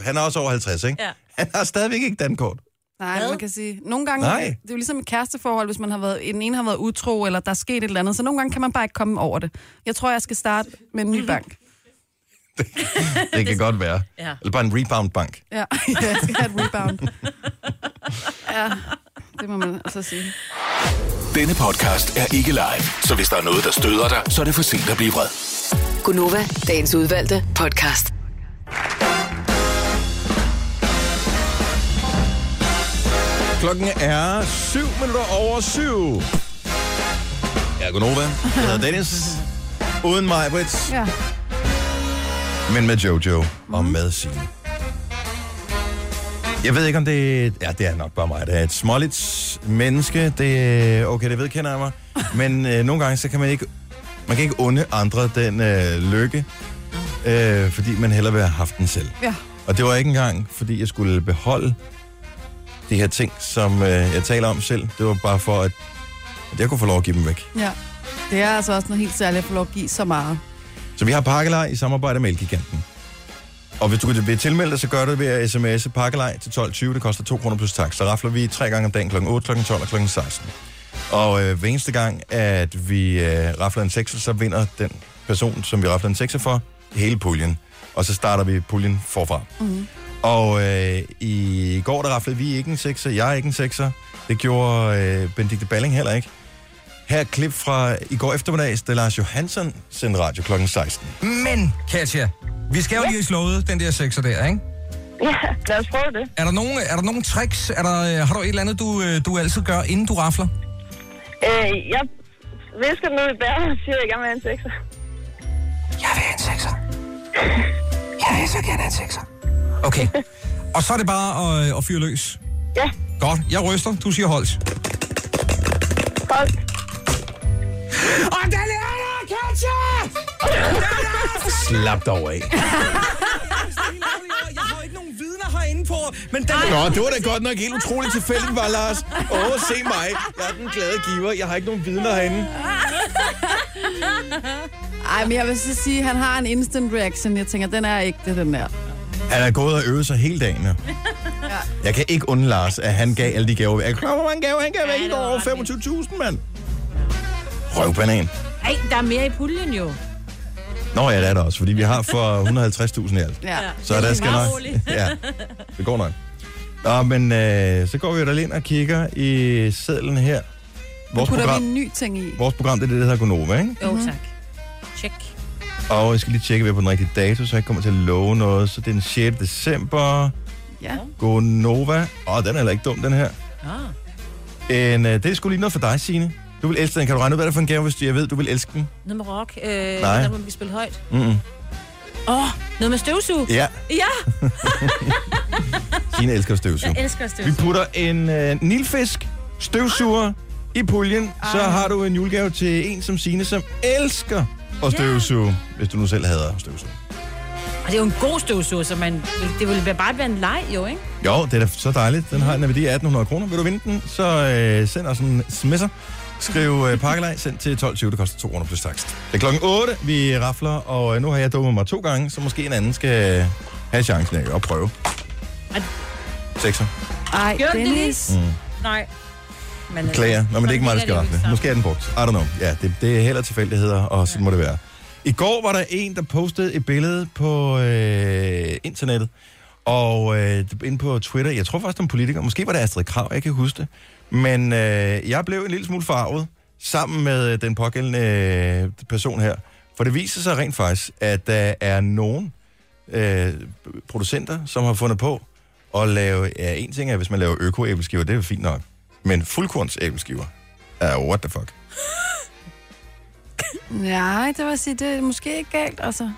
S2: han er også over 50, ikke?
S3: Ja.
S2: Han har stadigvæk ikke dankort.
S1: Nej,
S3: Hvad?
S1: man kan sige. Nogle gange,
S2: Nej.
S1: Nej. det er jo ligesom et kæresteforhold, hvis man har været, den ene har været utro, eller der er sket et eller andet, så nogle gange kan man bare ikke komme over det. Jeg tror, jeg skal starte med en ny bank.
S2: Mhm. Det kan godt være.
S3: Ja.
S2: Eller bare en rebound-bank.
S1: Ja, jeg skal have et rebound. Ja, det må man altså sige.
S4: Denne podcast er ikke live, så hvis der er noget, der støder dig, så er det for sent at blive vred.
S7: Gunova, dagens udvalgte podcast.
S2: Klokken er 7 minutter over 7. Jeg er Gunova. Jeg hedder Dennis. Uden mig, Brits.
S1: Ja.
S2: Men med Jojo og med Signe. Jeg ved ikke, om det er... Ja, det er nok bare mig. Det er et småligt menneske. Det, okay, det vedkender jeg mig. Men øh, nogle gange, så kan man ikke... Man kan ikke unde andre den øh, lykke, øh, fordi man hellere vil have haft den selv.
S1: Ja.
S2: Og det var ikke engang, fordi jeg skulle beholde de her ting, som øh, jeg taler om selv. Det var bare for, at, at jeg kunne få lov at give dem væk.
S1: ja. Det er altså også noget helt særligt at få lov at give så meget.
S2: Så vi har pakkelej i samarbejde med Elgiganten. Og hvis du vil tilmelde dig, så gør du det ved at sms'e pakkelej til 12.20. Det koster 2 kroner plus tak. Så rafler vi tre gange om dagen kl. 8, kl. 12 og kl. 16. Og øh, hver eneste gang, at vi øh, rafler en sekser, så vinder den person, som vi rafler en sekser for, hele puljen. Og så starter vi puljen forfra. Mm-hmm. Og øh, i går, der raflede vi ikke en sekser, jeg er ikke en sekser. Det gjorde øh, Benedikte Balling heller ikke. Her er et klip fra i går eftermiddags, da Lars Johansson sendte radio kl. 16.
S6: Men, Katja, vi skal jo lige slåde den der sekser der, ikke?
S9: Ja, lad os prøve det.
S6: Er der nogen, er der nogen tricks? Er der, øh, har du et eller andet, du, øh, du altid gør, inden du rafler?
S9: Øh, jeg visker den ud i bæret og siger, at jeg gerne vil have en sekser.
S6: Jeg vil have en sekser. Jeg vil så gerne have en sekser. Okay. Og så er det bare at, øh, at fyre løs.
S9: Ja,
S6: Godt, jeg ryster, du siger holdt.
S9: hold.
S6: Og den er der, Katja!
S2: Slap dig over af.
S6: Jeg har ikke nogen vidner herinde på, men den
S2: Nå, det var da godt nok helt utroligt tilfældigt, var Lars. Åh, oh, se mig. Jeg er den glade giver. Jeg har ikke nogen vidner herinde.
S1: Ej, men jeg vil så sige, at han har en instant reaction. Jeg tænker, den er ikke det, den der.
S2: Han er gået og øvet sig hele dagen. Ja. Jeg kan ikke undre Lars, at han gav alle de gaver. væk. Er du klar, over, hvor mange gaver han gav væk i
S3: det
S2: går?
S3: var
S2: Over
S3: ret vildt.
S2: 25.000, mand. Røvbanan.
S3: Ej, der er mere i puljen jo.
S2: Nå ja, det er der også, fordi vi har for 150.000 i alt.
S1: Ja.
S2: Så der skal
S3: Bare
S2: nok...
S3: rolig.
S2: Ja, det går nok. Nå, men øh, så går vi jo da lige ind og kigger i sedlen her. Vores
S1: Putter vi
S2: program,
S1: en ny ting i? Mhm.
S2: vores program, det er det, der hedder Gonova, ikke?
S3: Jo, tak. Check.
S2: Og jeg skal lige tjekke, at vi er på den rigtige dato, så jeg ikke kommer til at love noget. Så det er den 6. december.
S1: Ja.
S2: Gonova. Åh, den er heller ikke dum, den her.
S3: Ah.
S2: En, øh, det er sgu lige noget for dig, Signe. Du vil elske den. Kan du regne ud, hvad det er for en gave, hvis du, jeg ved, du vil elske den?
S3: Noget med rock. Øh, Der må vi spille højt.
S2: Mm-mm.
S3: Åh, oh, noget med støvsug.
S2: Ja,
S3: Ja,
S2: Signe elsker støvsug.
S3: jeg elsker
S2: Vi
S3: støvsug.
S2: putter en øh, nilfisk støvsuger i puljen. Så har du en julegave til en som Signe, som elsker at støvsuge. Hvis du nu selv hader at støvsuge.
S3: Og det er jo en god støvsug, så man, det ville være- bare være en leg jo, ikke?
S2: Jo, det er da så dejligt. Den har en værdi af 1800 kroner. Vil du vinde den, så øh, send os en sms'er. Skriv øh, pakkelej, send til 12.20. Det koster 2 kroner plus takst. Det er klokken 8, vi rafler, og øh, nu har jeg dummet mig to gange, så måske en anden skal øh, have chancen af at prøve.
S3: Ej.
S2: Sekser.
S1: Ej,
S3: Gjorde den det
S1: Dennis.
S3: Nej. Men, øh,
S2: Klager. Mm. Nå, men det er ikke mig, der
S3: sådan
S2: skal
S3: hænger det
S2: rafle.
S3: jo ikke
S2: Måske er den brugt. I don't know. Ja, det, det er heller tilfældigheder, og sådan må det være. I går var der en, der postede et billede på øh, internettet, og øh, inde på Twitter, jeg tror faktisk, det var en politiker, måske var det Astrid Krav, jeg kan ikke huske det, men øh, jeg blev en lille smule farvet sammen med øh, den pågældende øh, person her, for det viser sig rent faktisk, at der er nogen øh, producenter, som har fundet på at lave, ja, en ting er, hvis man laver øko-æbleskiver, det er jo fint nok, men fuldkorns-æbleskiver, er what the fuck.
S1: Nej, det var sige, det er måske ikke galt, altså.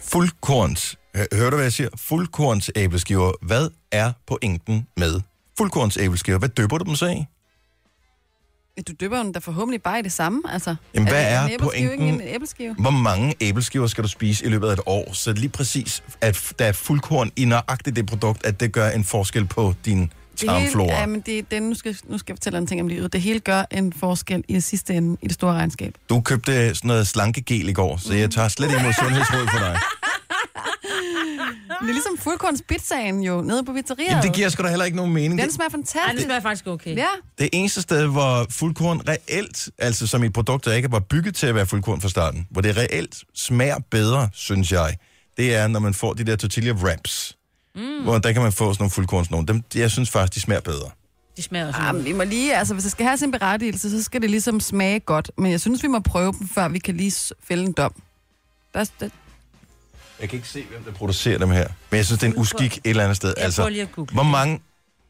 S2: Fuldkorns. Hø- Hører du, hvad jeg siger? Fuldkorns æbleskiver. Hvad er pointen med fuldkorns æbleskiver? Hvad døber du dem så i?
S1: Du døber den da forhåbentlig bare i det samme, altså.
S2: Jamen, hvad er
S1: en æbleskive ikke
S2: pointen?
S1: en æbleskive?
S2: Hvor mange æbleskiver skal du spise i løbet af et år? Så lige præcis, at f- der er fuldkorn i nøjagtigt det produkt, at det gør en forskel på din
S1: Det hele,
S2: tarmflora.
S1: ja, men det, er den, nu, skal, nu skal jeg fortælle en ting om livet. Det hele gør en forskel i sidste ende i det store regnskab.
S2: Du købte sådan noget slankegel i går, så jeg tager slet ikke imod sundhedsråd for dig.
S1: Det er ligesom fuldkornspizzaen jo, nede på pizzeriet.
S2: Jamen, det giver sgu da heller ikke nogen mening.
S1: Den
S2: Det,
S1: smager
S3: Ej, det
S1: fantastisk.
S3: smager faktisk okay.
S1: Ja,
S2: det eneste sted, hvor fuldkorn reelt, altså som et produkt, der ikke var bygget til at være fuldkorn fra starten, hvor det reelt smager bedre, synes jeg, det er, når man får de der tortilla wraps. Mm. Hvor der kan man få sådan nogle fuldkornsnogen. Dem, jeg synes faktisk, de smager bedre.
S3: Det smager også
S1: Jamen, vi må lige, altså hvis det skal have sin berettigelse, så skal det ligesom smage godt. Men jeg synes, vi må prøve dem, før vi kan lige s- fælde en dom. Der, er- der,
S2: Jeg kan ikke se, hvem der producerer dem her. Men jeg synes, det er en uskik et eller andet sted. Altså,
S3: Jeg prøver lige at google.
S2: hvor mange...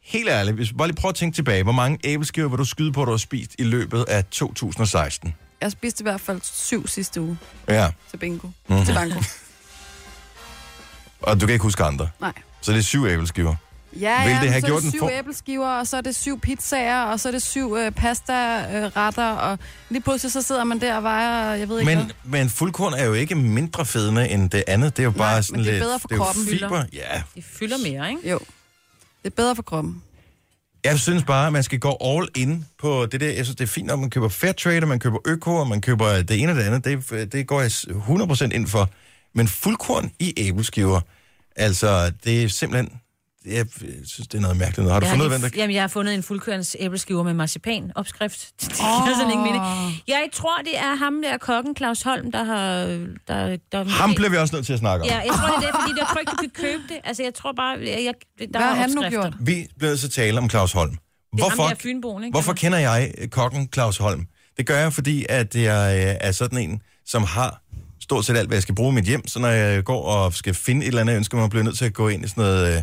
S2: Helt ærligt, hvis, bare lige prøv at tænke tilbage. Hvor mange æbleskiver vil du skyde på, at du har spist i løbet af 2016?
S1: jeg spiste i hvert fald syv sidste uge
S2: Ja,
S1: til bingo.
S2: Mhm.
S1: Mm-hmm. Til banko.
S2: og du kan ikke huske andre.
S1: Nej.
S2: Så det er syv æbleskiver.
S1: Ja,
S2: Vil
S1: ja,
S2: det
S1: men
S2: have
S1: så
S2: gjort
S1: er det
S2: en
S1: syv
S2: for-
S1: æbleskiver, og så er det syv pizzaer, og så er det syv øh, pastaretter, øh, retter, og lige pludselig så sidder man der og vejer, jeg ved ikke
S2: Men,
S1: hvad.
S2: men fuldkorn er jo ikke mindre fedende end det andet. Det er jo bare
S1: men
S2: sådan
S1: det er
S2: lidt...
S1: bedre for
S2: det er jo
S1: kroppen,
S2: fiber.
S3: Hylder.
S2: Ja.
S3: Det fylder mere, ikke?
S1: Jo. Det er bedre for kroppen.
S2: Jeg synes bare, at man skal gå all in på det der. Jeg synes, det er fint, at man køber fair trade, og man køber øko, og man køber det ene og det andet. Det, det går jeg 100% ind for. Men fuldkorn i æbleskiver, altså, det er simpelthen... Jeg synes, det er noget mærkeligt. noget. Har du
S3: Jeg
S2: fundet ud
S3: lige-
S2: af, hvem der...
S3: Jamen, jeg har fundet en fuldkørens æbleskiver med marcipan opskrift. Det giver sådan ingen mening. Jeg tror, det er ham der kokken, Claus Holm, der har... Der, der,
S2: Ham bliver vi også nødt til at snakke om.
S3: Ja, jeg tror, det er, fordi jeg tror ikke, du kan købe det. Altså, jeg tror bare, jeg, jeg, der
S1: Hvad
S3: er
S1: har han nu
S3: opskrifter.
S1: gjort?
S2: Vi bliver nødt til at tale om Claus Holm.
S3: Det er
S2: Hvorfor,
S3: ham der Fynboen, ikke?
S2: hvorfor kender jeg øh, kokken Claus Holm? Det gør jeg, fordi at jeg øh, er sådan en, som har stort set alt, hvad jeg skal bruge i mit hjem. Så når jeg går og skal finde et eller andet, jeg ønsker mig, bliver jeg nødt til at gå ind i sådan noget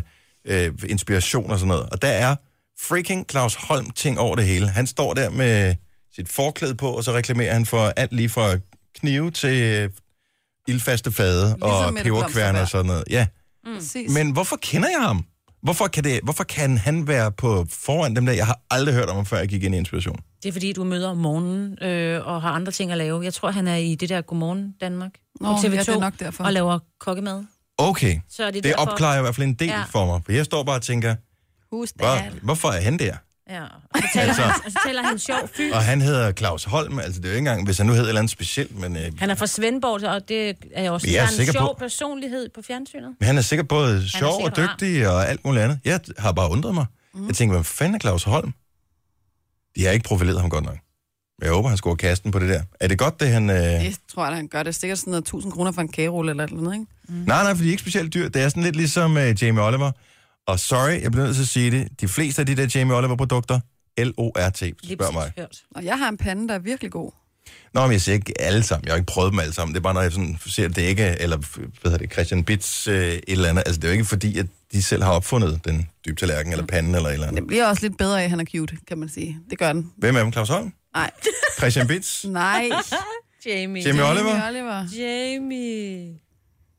S2: øh, øh, inspiration og sådan noget. Og der er freaking Claus Holm ting over det hele. Han står der med sit forklæde på, og så reklamerer han for alt lige fra knive til øh, ildfaste fade ligesom og
S1: Mette
S2: peberkværne og
S1: Blomsterberg.
S2: sådan noget. Ja.
S3: Mm.
S1: Præcis.
S2: Men hvorfor kender jeg ham? Hvorfor kan, det, hvorfor kan han være på foran dem der? Jeg har aldrig hørt om ham, før jeg gik ind i Inspiration.
S3: Det er, fordi du møder om morgenen øh, og har andre ting at lave. Jeg tror, han er i det der Godmorgen Danmark
S1: Nå,
S3: på
S1: ja,
S3: TV2
S1: det er nok derfor.
S3: og laver kokkemad.
S2: Okay,
S3: Så er
S2: det
S3: det, derfor.
S2: opklarer i hvert fald en del ja.
S3: Ja.
S2: for mig. For jeg står bare og tænker,
S1: Husk
S2: hvor,
S1: det.
S2: hvorfor er han der?
S3: Ja, og så taler,
S2: Altså.
S3: han, og så taler han sjov fyn.
S2: Og han hedder Claus Holm, altså det er jo ikke engang, hvis han nu hedder et eller andet specielt, men øh,
S3: Han er fra Svendborg, så- og det er jeg også
S2: Men jeg er
S3: han er
S2: sikker
S3: en sjov
S2: på-
S3: personlighed på fjernsynet.
S2: men han er sikkert både sjov og
S3: sikkert rar.
S2: dygtig og alt muligt andet. Jeg har bare undret mig. Mm. Jeg tænker, hvem fanden er Claus Holm? De har ikke profileret ham godt nok. Jeg håber, han scorer kasten på det der. Er det godt, det han... Øh...
S1: Det tror jeg, da, han gør. Det er sikkert sådan noget 1000 kroner for en kagerulle eller et eller andet, ikke?
S2: Nej, nej, for de er ikke specielt dyr. Det er sådan lidt ligesom uh, Jamie Oliver. Og sorry, jeg bliver nødt til at sige det. De fleste af de der Jamie Oliver-produkter, L-O-R-T, spørg mig.
S3: Hørt.
S1: Og jeg har en pande, der er virkelig god.
S2: Nå, men jeg siger ikke alle sammen. Jeg har ikke prøvet dem alle sammen. Det er bare, når jeg sådan ser det ikke, eller hvad hedder det, Christian Bits øh, et eller andet. Altså, det er jo ikke fordi, at de selv har opfundet den dybe tallerken, eller panden, eller et eller andet.
S1: Det bliver også lidt bedre af, at han er cute, kan man sige. Det gør den.
S2: Hvem er dem? Claus Holm?
S1: Nej.
S2: Christian Bits?
S1: Nej.
S2: Jamie
S3: Jamie.
S1: Jamie
S2: Oliver?
S1: Oliver.
S3: Jamie.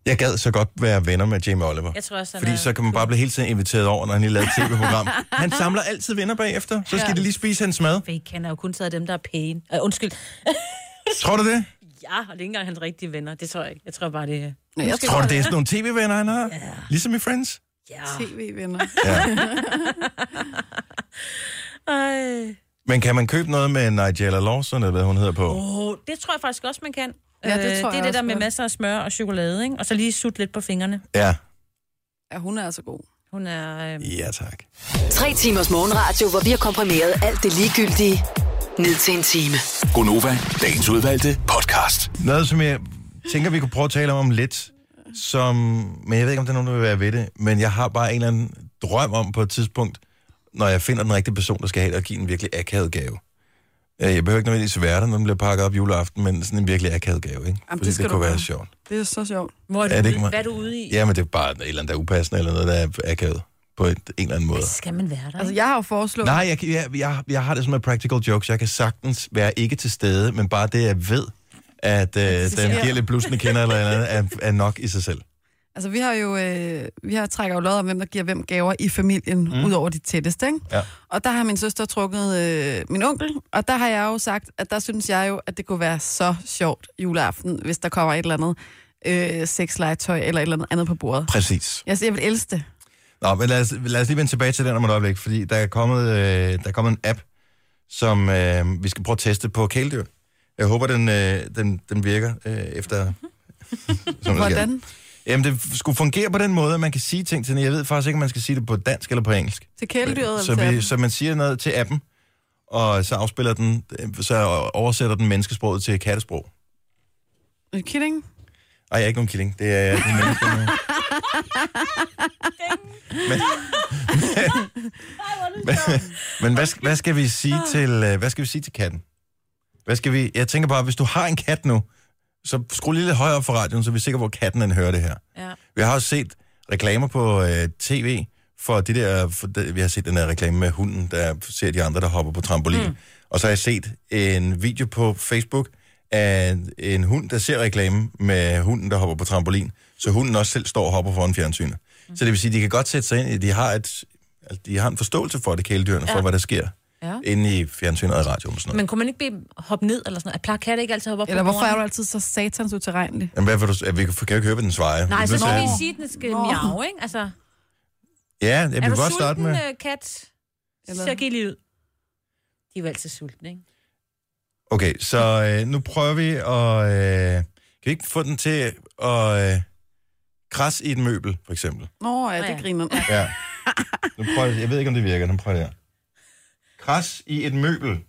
S2: Jeg gad så godt være venner med Jamie Oliver.
S3: Jeg tror også, han
S2: Fordi
S3: er...
S2: så kan man bare blive hele tiden inviteret over, når han lige lavede et tv-program. Han samler altid venner bagefter. Så skal
S1: Ja.
S2: de lige spise hans mad.
S3: Fake, han er jo kun taget dem, der er pæne. Øh, undskyld.
S2: Tror du det?
S3: ja, og det er ikke engang hans rigtige venner. Det tror jeg ikke. Jeg tror bare, det er...
S1: Nej, jeg
S2: Tror du, det er sådan nogle tv-venner, han har? Yeah. Ligesom i Friends?
S3: Ja.
S1: TV-venner.
S3: Ej.
S2: Men kan man købe noget med Nigella Lawson, eller hvad hun hedder på? Oh.
S3: Oh, det tror jeg faktisk også, man kan.
S1: Ja,
S3: Øh,
S1: det tror
S3: det er
S1: jeg
S3: det
S1: også
S3: der med
S1: godt.
S3: masser af smør og chokolade, ikke? Og så lige sut lidt på fingrene.
S2: Ja.
S1: Ja, hun er altså god.
S3: Hun er... Øh...
S2: Øhm. Ja, tak.
S7: Tre timers morgenradio, hvor vi har komprimeret alt det ligegyldige ned til en time.
S4: Gonova, dagens udvalgte podcast.
S2: Noget, som jeg tænker, vi kunne prøve at tale om om lidt, som, men jeg ved ikke, om der er nogen, der vil være ved det, men jeg har bare en eller anden drøm om på et tidspunkt, når jeg finder den rigtige person, der skal have det, at give en virkelig akavet gave. Øh, Jeg behøver ikke nødvendigvis være der, når den bliver pakket op juleaften, men sådan en virkelig akavet gave, ikke? Jamen, Fordi det,
S1: skal
S2: det
S1: du
S2: kunne være
S1: gøre.
S2: sjovt.
S1: Det er så sjovt.
S3: Hvor er du,
S2: Er det
S3: ude-
S2: ikke mig?
S3: Hvad er du ude i?
S2: Jamen, det er bare et eller andet, der er upassende, eller noget, der er akavet på et, en eller anden måde.
S3: Skal man være der?
S1: Altså,
S3: Altså,
S1: jeg har jo foreslået...
S2: Nej, jeg, kan- jeg, jeg, jeg har det som med practical jokes. Jeg kan sagtens være ikke til stede, men bare det, jeg ved, at øh, den giver lidt blusende kender eller et eller andet, er, er nok i sig selv.
S1: Altså, vi har jo... Øh, vi har trækker jo lod om, hvem der giver hvem gaver i familien, mm. ud over de tætteste, ikke?
S2: Ja.
S1: Og der har min søster trukket øh, min onkel, og der har jeg jo sagt, at der synes jeg jo, at det kunne være så sjovt juleaften, hvis der kommer et eller andet øh, sexlegetøj eller et eller andet andet på bordet.
S2: Præcis.
S1: Jeg, jeg vil elske det.
S2: Nå, men lad os, lad os lige vende tilbage til den om et øjeblik, fordi der er kommet, øh, der er kommet en app, som øh, vi skal prøve at teste på kæledyr. Jeg håber, den, øh, den, den virker øh, efter... som den skal.
S1: Hvordan?
S2: Jamen, det skulle fungere på den måde, at man kan sige ting til den. Jeg ved faktisk ikke, om man skal sige det på dansk eller på engelsk.
S1: Til kæledyret
S2: så,
S1: eller til
S2: vi,
S1: appen?
S2: så man siger noget til appen, og så afspiller den, så oversætter den menneskesproget til kattesprog.
S1: Are you kidding?
S2: Ej, jeg er ikke nogen killing. Det er den menneske. men, men, men hvad, skal- hvad, skal vi sige til, øh, hvad skal vi sige til katten? Hvad skal vi, jeg tænker bare, hvis du har en kat nu, så skru lige lidt højere op for radioen, så vi er sikre, på, hvor katten den hører det her.
S4: Ja.
S2: Vi har også set reklamer på øh, tv for de der... For de, vi har set den der reklame med hunden, der ser de andre, der hopper på trampolin. Mm. Og så har jeg set en video på Facebook af en hund, der ser reklame med hunden, der hopper på trampolin. Så hunden også selv står og hopper foran fjernsynet. Mm. Så det vil sige, at de kan godt sætte sig ind i... De har, et, altså, de har en forståelse for det, kæledyrene, ja. for hvad der sker
S3: Ja.
S2: inde i fjernsynet og i radioen og sådan noget.
S3: Men kunne man ikke blive hoppe ned eller sådan noget? Plejer katte ikke altid at hoppe op
S1: Eller
S3: på
S1: hvorfor er du
S3: bordene?
S1: altid så satans utilregnelig?
S2: Jamen, hvad vil du... Vi kan kan jo ikke høre, hvad den svarer.
S3: Nej,
S2: Vi
S3: så
S2: er nødt
S3: skal
S2: til
S3: vi
S2: at-
S3: sige, at den skal
S1: Nå.
S3: miau, ikke? Altså,
S2: Ja, jeg
S3: er
S2: vil
S3: du
S2: godt starte
S3: sulten,
S2: med...
S3: øh, kat?
S1: Eller-
S3: Så giv lige ud. De er jo altid sultne, ikke?
S2: Okay, så øh, nu prøver vi at... Øh, kan vi ikke få den til at øh, krasse i et møbel, for eksempel?
S1: Nå,
S3: Nå
S1: ja,
S3: ja.
S1: det griner.
S2: Ja. Nu prøver jeg, jeg ved ikke, om det virker. Nu prøver jeg det her. Kras i et møbel.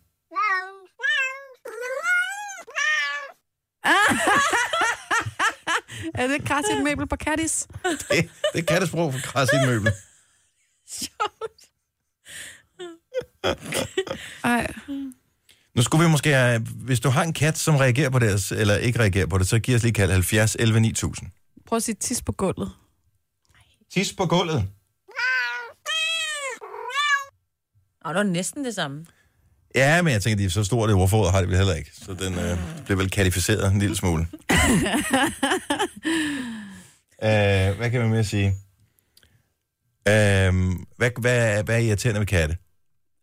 S1: Er det kras i et møbel på Kattis?
S2: Det, det kan det sprog for kras i et møbel.
S1: Ej,
S2: Nu skulle vi måske have, hvis du har en kat, som reagerer på det, eller ikke reagerer på det, så giv os lige kald 70 11 9000.
S1: prøv at sige tis på gulvet.
S2: Tis på gulvet.
S3: Og det var næsten det samme.
S2: Ja, men jeg tænker, de er så store, det ordforråd har de vel heller ikke. Så den øh, bliver vel katificeret en lille smule. øh, hvad kan man mere sige? Øh, hvad, hvad, hvad er irriterende ved katte?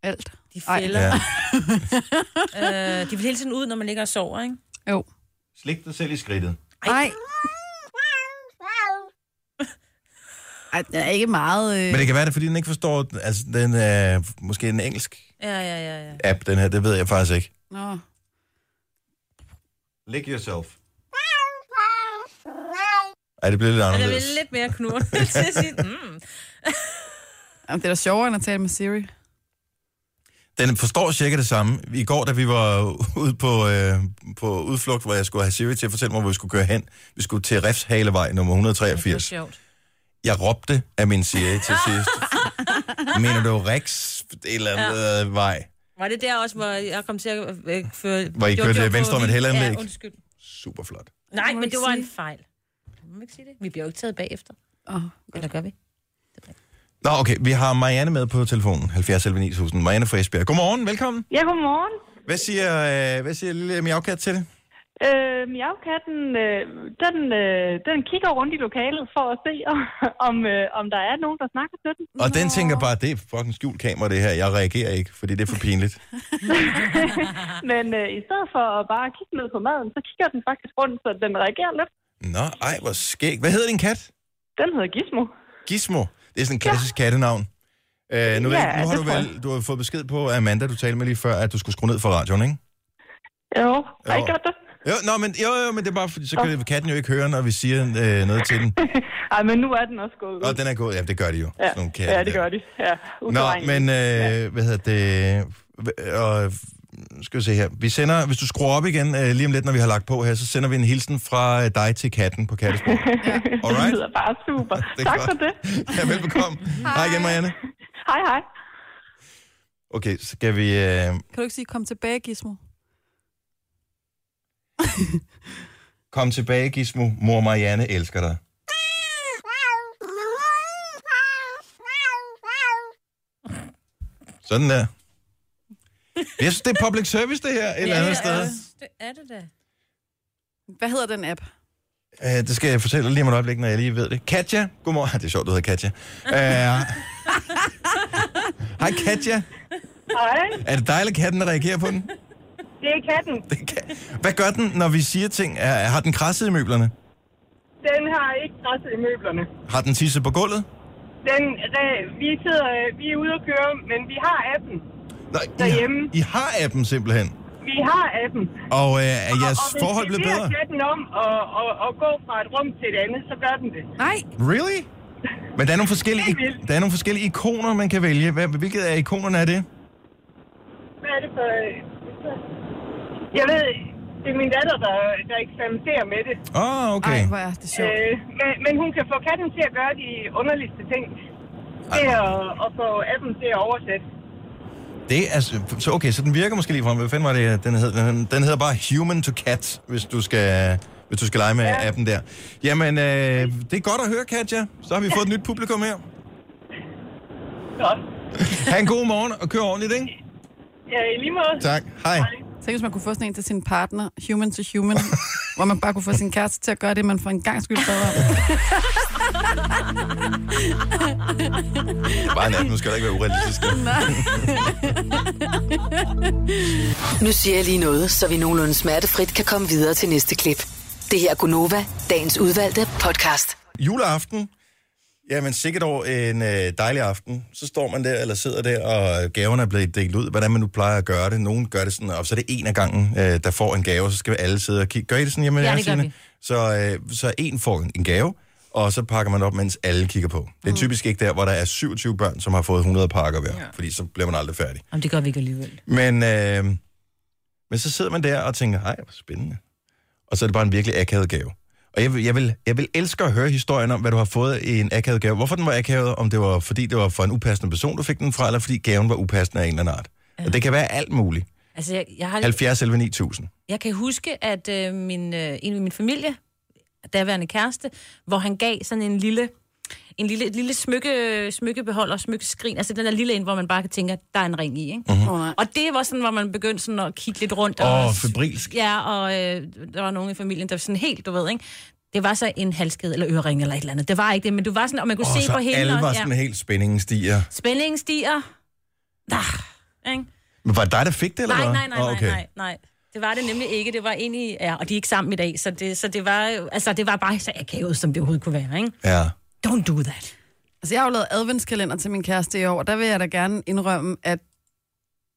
S1: Alt.
S3: De
S1: Ej.
S3: fælder.
S2: Ja.
S3: Øh, de vil hele tiden ud, når man ligger og sover, ikke?
S1: Jo.
S2: Slik dig selv i skridtet.
S1: Ej. Ej, den er ikke meget... Øh...
S2: Men det kan være, det er, fordi den ikke forstår, altså den er måske en engelsk
S3: Ja, ja, ja, ja.
S2: app, den her, det ved jeg faktisk ikke.
S1: Nå.
S2: Lick yourself. Ej, det bliver lidt
S3: Og der
S2: anderledes.
S3: vil lidt mere knurre til at sige, mm.
S1: Jamen, det er da sjovere end at tale med Siri.
S2: Den forstår cirka det samme. I går, da vi var ude på, øh, på udflugt, hvor jeg skulle have Siri til at fortælle mig, hvor vi skulle køre hen. Vi skulle til Refshalevej nummer
S3: Det var
S2: 183.
S3: sjovt.
S2: Jeg råbte af min Siri til sidst. Mener du Rex et eller andet ja. vej?
S3: Var det der også, hvor jeg kom til at øh, føre...
S2: Hvor I
S3: det var
S2: kørte
S3: gjort på
S2: venstre om et
S3: min-
S2: hellanlæg?
S3: Ja, undskyld.
S2: Super flot.
S3: Nej,
S1: må
S3: men
S1: ikke
S3: det var
S1: sige.
S3: en fejl. Må man ikke sige det? Vi bliver jo ikke taget bagefter.
S1: Åh,
S3: Eller gør vi?
S2: Nå, okay. Vi har Marianne med på telefonen. 70 11 9000. Marianne fra Esbjerg. Godmorgen. Velkommen.
S10: Ja, godmorgen.
S2: Hvad siger, øh, hvad siger lille miaukat til det?
S10: Øh, miaukatten, øh, den, øh, den kigger rundt i lokalet for at se, om, øh, om der er nogen, der snakker til den.
S2: Og den tænker bare, det er fucking skjult kamera, det her. Jeg reagerer ikke, fordi det er for pinligt.
S10: Men øh, i stedet for at bare kigge ned på maden, så kigger den faktisk rundt, så den reagerer lidt.
S2: Nå, ej, hvor skæg. Hvad hedder din kat?
S10: Den hedder Gizmo.
S2: Gizmo. Det er sådan en klassisk ja. kattenavn. Øh, nu, ja,
S10: Ja,
S2: ikke, nu har
S10: det
S2: du
S10: tror
S2: vel du har fået besked på af Amanda, du talte med lige før, at du skulle skrue ned for radioen, ikke?
S10: Jo, har I
S2: Jo.
S10: gjort det?
S2: Jo, nå, men, jo, jo, men det er bare, fordi så kan katten jo ikke høre, når vi siger øh, noget til den.
S10: Ej, men nu er den også gået ud.
S2: Og den er gået. Ja, det gør de jo.
S10: ja.
S2: sådan nogle katte
S10: ja, det
S2: der.
S10: gør de. Ja,
S2: Nå, men øh, hvad hedder det? Hva- Og, skal vi se her. Vi sender, hvis du skruer op igen øh, lige om lidt, når vi har lagt på her, så sender vi en hilsen fra øh, dig til katten på Kattesborg.
S10: Det
S2: alright.
S10: lyder bare super.
S2: Det er
S10: tak
S2: godt.
S10: for det.
S2: Ja, velbekomme. Hej. Hej igen, Marianne.
S10: Hej, hej.
S2: Okay, så skal vi... Øh,
S1: Kan du ikke sige, kom tilbage, Gizmo?
S2: Kom tilbage, Gizmo. Mor Marianne elsker dig. Sådan der. Jeg synes, det er public service, det her, et eller andet
S3: Ja,
S2: sted.
S3: det er det da.
S1: Hvad hedder den app?
S2: Uh, det skal jeg fortælle lige om et øjeblik, når jeg lige ved det. Katja, godmorgen. Ah, Det er sjovt, du hedder Katja. Uh, Hej, Katja.
S10: Hej.
S2: Er det dig eller katten, der reagerer på den?
S10: Det er katten.
S2: Det kan- Hvad gør den, når vi siger ting? Uh, har den krasset i møblerne?
S10: Den har ikke græsset i møblerne.
S2: Har den tisset på gulvet?
S9: Den, re- vi, sidder, øh, vi er ude at køre, men vi har appen.
S2: Nej, I,
S9: Derhjemme.
S2: I har appen simpelthen.
S9: Vi har appen.
S2: Og øh, er jeres
S9: og hvis
S2: forhold
S9: vi
S2: blevet
S9: beder
S2: bedre?
S9: chatten om at, at, at gå fra et rum til et andet, så gør den det.
S1: Nej,
S2: Really? Men der er, nogle forskellige,
S9: Helt vildt.
S2: der er nogle forskellige ikoner, man kan vælge. Hvad- Hvilket af ikonerne er det?
S9: Hvad er det for... øh, Jeg ved, det er min datter, der, der eksperimenterer med det.
S2: Åh, oh,
S1: Ej,
S2: okay.
S1: hvor er det sjovt.
S9: Øh, men, men hun kan få katten til at gøre de underligste ting. Det er at, at få appen til at oversætte.
S2: Det er, s- så okay, så den virker måske lige frem. Hvad fanden var det, den hed? Den, den hedder bare Human to Cat, hvis du skal, hvis du skal lege med ja. appen der. Jamen, øh, det er godt at høre, Katja. Så har vi fået et nyt publikum her.
S9: Godt.
S2: Ha' en god morgen, og kør ordentligt, ikke?
S9: Ja, i lige måde.
S2: Tak. Hej.
S1: Tænk, hvis man kunne få sådan en til sin partner, human to human, hvor man bare kunne få sin kæreste til at gøre det, man for en gang skyld bad om.
S2: Det er bare en app, nu skal der ikke være urealistisk.
S7: Nu siger jeg lige noget, så vi nogenlunde smertefrit kan komme videre til næste klip. Det her er Gunova, dagens udvalgte podcast.
S2: Juleaften. Jamen, sikkert over en øh, dejlig aften. Så står man der, eller sidder der, og gaverne er blevet delt ud. Hvordan man nu plejer at gøre det. Nogen gør det sådan, og så er det en af gangen, øh, der får en gave, og så skal vi alle sidde og kigge. Gør I det sådan hjemme?
S8: Ja,
S2: jer,
S8: det gør
S2: Signe?
S8: vi.
S2: Så, øh, så en får en gave, og så pakker man op, mens alle kigger på. Det er
S8: Mm.
S2: typisk ikke der, hvor der er 27 børn, som har fået 100 pakker hver, ja. fordi så bliver man aldrig færdig.
S8: Jamen, det gør vi ikke alligevel.
S2: Men, øh, men så sidder man der og tænker, ej, hvor spændende. Og så er det bare en virkelig akavet gave. Og jeg vil, jeg, vil, jeg vil elske at høre historien om, hvad du har fået i en akavet gave. Hvorfor den var akavet, om det var fordi det var fra en upassende person, du fik den fra, eller fordi gaven var upassende af en eller anden art. Ja. Og det kan være alt muligt.
S8: Altså, jeg, jeg, har,
S2: 70 11 9000.
S8: jeg kan huske, at øh, min, øh, en af min familie, daværende kæreste, hvor han gav sådan en lille, en lille, et lille smykke, smykkebeholder, smykkeskrin, altså den der lille en, hvor man bare kan tænke, at der er en ring i, ikke?
S1: Åh, nej.
S8: Og det var sådan, hvor man begyndte sådan at kigge lidt rundt.
S2: Mhm. Åh, febrilsk.
S8: Ja, og øh, der var nogen i familien, der var sådan helt, du ved, ikke? Det var så en halskæde eller ørering eller et eller andet. Det var ikke det, men du var sådan, og man kunne
S2: Og
S8: se på
S2: så
S8: hende.
S2: alle
S8: og-
S2: var
S8: ja.
S2: sådan helt spændingen stiger.
S8: Spændingen stiger. Ah, ikke?
S2: Men var det dig, der fik det, eller
S8: Nej,
S2: hvad?
S8: nej, nej,
S2: Åh,
S8: nej, nej, nej. Det var det nemlig ikke. Det var egentlig... Ja, og de er ikke sammen i dag, så det, så det var... jo- Altså, det var bare så akavet, som det overhovedet kunne være, ikke?
S2: Ja.
S8: Don't do that.
S1: Altså, jeg har jo lavet adventskalender til min kæreste i år, og der vil jeg da gerne indrømme, at